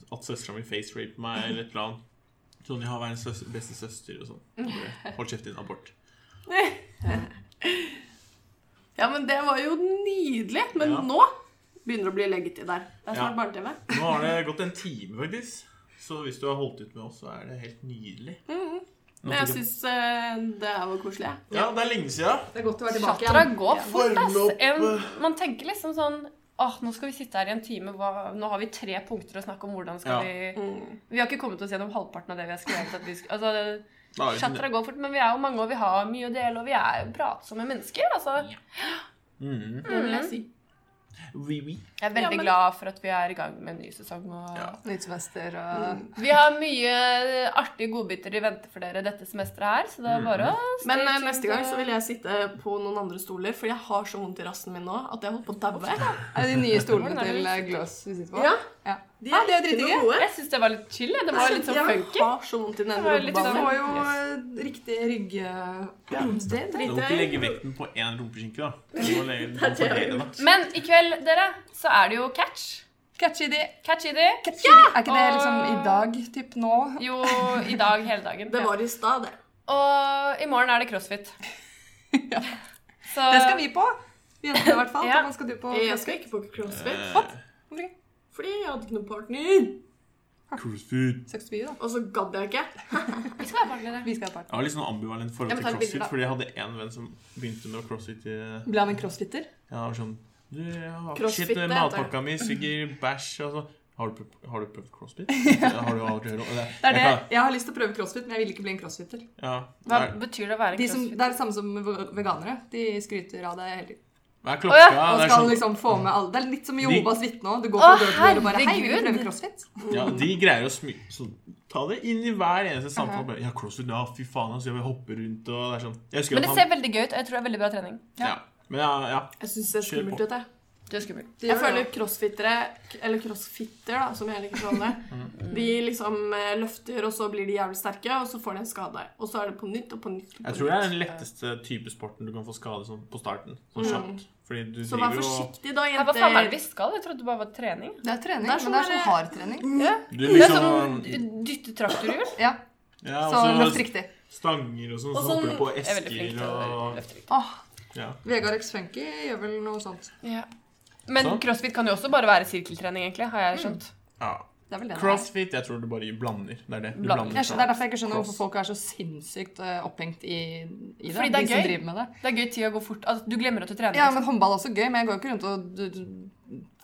S3: at søstera mi faceraper meg eller et eller annet. Sånn, jeg har verdens søs- beste søster og sånn. Bare, Hold kjeft, din abort.
S4: Ja, men det var jo nydelig. Men
S3: Ja.
S4: nå begynner det å bli leggetid der. Det er snart barne-TV.
S3: Nå har det gått en time, faktisk. Så hvis du har holdt ut med oss, så er det helt nydelig. Nå
S4: Men jeg
S3: tenker Mm. jeg-
S4: syns eh, det her var koselig. jeg.
S3: Ja, det er lenge siden.
S2: Det er godt å være
S1: Chatra går fort,
S3: Varme
S1: ass.
S3: opp,
S1: En,
S3: eh.
S1: man tenker liksom sånn Åh, nå skal vi sitte her i en time. Hva, nå har vi tre punkter å snakke om. hvordan skal vi... Vi har ikke kommet oss gjennom halvparten av det vi har skrevet. At vi sk- altså, det-
S3: Da er vi sånn-
S1: Chatra går fort, men vi er jo mange, og vi har mye å dele, og vi er jo pratsomme mennesker. altså.
S3: Mhm.
S4: Det vil jeg si.
S3: Oui, oui.
S1: Jeg er veldig
S4: Ja, men-
S1: glad for at vi er i gang med en ny sesong. og...
S3: Ja.
S2: Nytt semester og
S1: Vi har mye artige godbiter i vente for dere dette semesteret her, så det er bare å stay
S4: Men eh,
S1: tuned.
S4: neste gang så vil jeg sitte på noen andre stoler, for jeg har så vondt i rassen min nå at jeg holdt på å daue.
S2: Er det de nye stolene
S1: Hvordan er det
S2: til
S1: vi
S2: eh, Gløs vi sitter på?
S4: Ja.
S2: Ja.
S4: De
S2: Ja, de er dritdigge.
S4: noe gode.
S1: Jeg syns det var litt chill. jeg. Det var litt sånn
S4: Jeg
S1: funky.
S4: har så vondt i den
S1: Det var litt
S2: Du
S1: sånn-
S4: rumpa.
S2: får jo eh, riktig rygg... eh,
S4: Det
S3: Du må
S4: driter
S3: ikke
S4: jeg i.
S3: legge vekten på én rumpeskinke, da. Du må legge den på
S4: det jeg har
S3: flere, da.
S1: Men i kveld, dere, så er det jo catch.
S2: Catchy de.
S1: Catch i det.
S2: Catchy de. Er ikke det
S1: Og-
S2: liksom i dag? Typ nå?
S1: Jo, i dag hele dagen.
S4: Det var i stad, det.
S1: Og i morgen er det crossfit.
S2: Ja.
S1: Så
S2: Det skal vi på. Vi jentene i hvert fall.
S1: Ja.
S2: Hva skal du på?
S4: Jeg skal ikke på crossfit,
S3: Eh,
S4: fordi jeg hadde ikke noen partner.
S3: Cruise food.
S2: Søkst by, da.
S4: Og så gadd jeg ikke.
S1: vi skal være partnere.
S2: Vi skal ha part.
S3: Jeg har litt sånn ambivalent forhold
S1: Jeg må
S3: til
S1: ta et bilde,
S3: crossfit,
S1: da.
S3: fordi jeg hadde en venn som begynte med crossfit i
S2: Blir han en crossfitter?
S3: Ja, det var sånn Du, jeg har
S4: Crossfit,
S3: shit,
S4: det heter
S3: matpakka mi suger bæsj og så har du, prøvd- har du prøvd crossfit? Har du aldri hørt om det?
S2: Det er det.
S3: Jeg kan-
S2: Jeg har lyst til å prøve crossfit, men jeg vil ikke bli en crossfitter.
S3: Ja,
S1: Hva
S3: det er-
S1: betyr det å være
S2: De som,
S1: crossfit?
S2: det er det samme som veganere. De skryter av det hele tiden.
S3: Hva er
S2: Og
S3: klokka? Det er
S2: skal
S3: sånn-
S2: liksom få med alle. Det er litt som i
S3: De-
S2: Jehovas vitne òg. Du går
S1: Å,
S2: på dødbord og bare Hei, vil du
S1: herregud!»
S2: prøve crossfit?
S3: Ja, de greier å smy... Så, ta det inn i hver eneste samtale. Bare, ja, crossfit, ja, fy faen, altså, jeg vil hoppe rundt og det er sånn. Jeg husker
S1: Men det
S3: at
S1: ser veldig gøy ut, og jeg tror det er veldig bra trening.
S3: Ja. Men ja, ja.
S4: Jeg syns det er
S3: Kjør
S4: skummelt
S3: på.
S4: ut, jeg.
S1: Du er skummel.
S2: Det
S4: Jeg
S2: gjør
S4: føler
S2: det.
S4: crossfittere, eller crossfitter, da, som jeg liker å kalle det,
S3: Mm.
S4: de liksom eh, løfter, og så blir de jævlig sterke, og så får de en skade. Og så er det på nytt og på nytt. og på
S3: Jeg tror det
S4: nytt.
S3: er den letteste type sporten du kan få skade sånn, på starten. Sånn
S4: Mm.
S3: kjapt. Fordi du
S4: Så
S3: driver
S4: vær
S3: jo og
S4: forsiktig, da,
S1: Nei, hva faen er det
S4: jenter.
S1: vi skal? Jeg trodde det bare var trening.
S2: Det er trening,
S4: Det er
S2: men
S4: sånn
S2: det er sånn
S4: der-
S2: hard trening.
S3: Du
S1: Det er
S3: liksom
S1: sånn dytte traktorhjul.
S2: Ja,
S3: ja,
S2: så
S3: og
S2: løft
S3: så
S2: riktig.
S3: stanger og sånn,
S4: Og
S3: så hopper du
S4: sånn-
S3: på
S1: Jeg er veldig flink
S3: esker
S1: til å
S3: og
S1: løfte riktig.
S2: Åh,
S3: ja.
S2: Vegard X Funky gjør vel noe sånt.
S1: Ja. Men
S3: Sånn.
S1: crossfit kan jo også bare være sirkeltrening, egentlig, har jeg skjønt.
S3: ja.
S2: Det er vel det det er.
S3: Crossfit, jeg tror du bare blander. Det er det. Du
S1: Blander.
S3: blander.
S2: Jeg skjønner- Det er derfor jeg ikke skjønner hvorfor
S3: Cross.
S2: folk er så sinnssykt eh, opphengt i, i det.
S1: Fordi det er
S2: de som
S1: gøy.
S2: driver med det.
S1: Det er gøy tid å gå fort. Altså, du glemmer at du trener.
S2: Ja, men håndball er også gøy, men jeg går jo ikke rundt og du, du,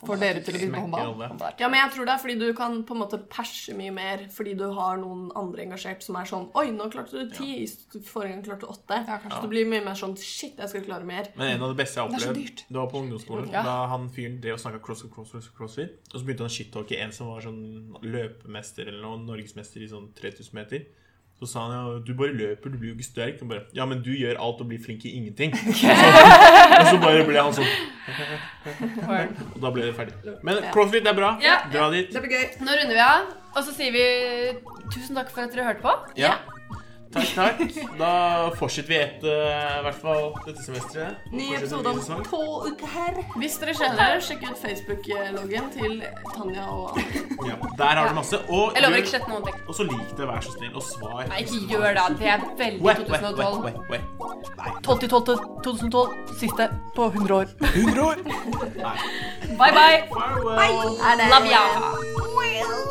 S2: får dere til å begynne på
S3: Smekker
S2: håndball.
S3: alle.
S4: Ja, men jeg tror det er fordi du kan på en måte perse mye mer fordi du har noen andre engasjert som er sånn Oi, nå klarte du ti, forrige gang klarte du åtte.
S2: Ja, kanskje.
S4: Så det blir mye mer sånn Shit, jeg skal klare mer.
S3: Men en av det beste jeg har
S2: Det er så
S3: opplevd,
S2: dyrt.
S3: det var på ungdomsskolen.
S1: Ja.
S3: Da han fyren drev og snakka cross og cross, cross, crossfit, og så begynte han å shittalke en som var sånn løpemester eller noe, norgesmester i sånn 3000 meter. Så sa han jo du bare løper, du blir jo ikke sterk. Og bare, ja, men du gjør alt og blir flink i ingenting. Så, og så bare ble han sånn,
S1: Horn.
S3: og da ble det ferdig. Men crossfit er bra.
S1: Ja.
S3: Dra dit.
S2: Det blir gøy.
S1: Nå runder vi av, og så sier vi tusen takk for at dere hørte på.
S3: Ja. Takk, takk. Da fortsetter vi et, eh, i hvert fall dette semesteret.
S2: Ny
S3: Fortsetter
S2: episode
S3: ny
S2: om
S3: sesong.
S2: to uker her.
S4: Hvis dere kjenner, sjekk ut Facebook-loggen til Tanja og Anne.
S3: Ja, der har du masse. Og,
S1: Jeg lover ikke
S3: gjør-
S1: slett noen ting.
S3: og så lik det, vær så snill, og svar.
S1: Nei, ikke gjør det. Det er veldig
S3: Wet, wet, wet,
S1: 2012.
S3: wet, wet. Nei.
S1: 12.12.2012. Siste på 100 år.
S3: 100 år!
S1: Bye, bye.
S3: Farewell.
S1: Love ya.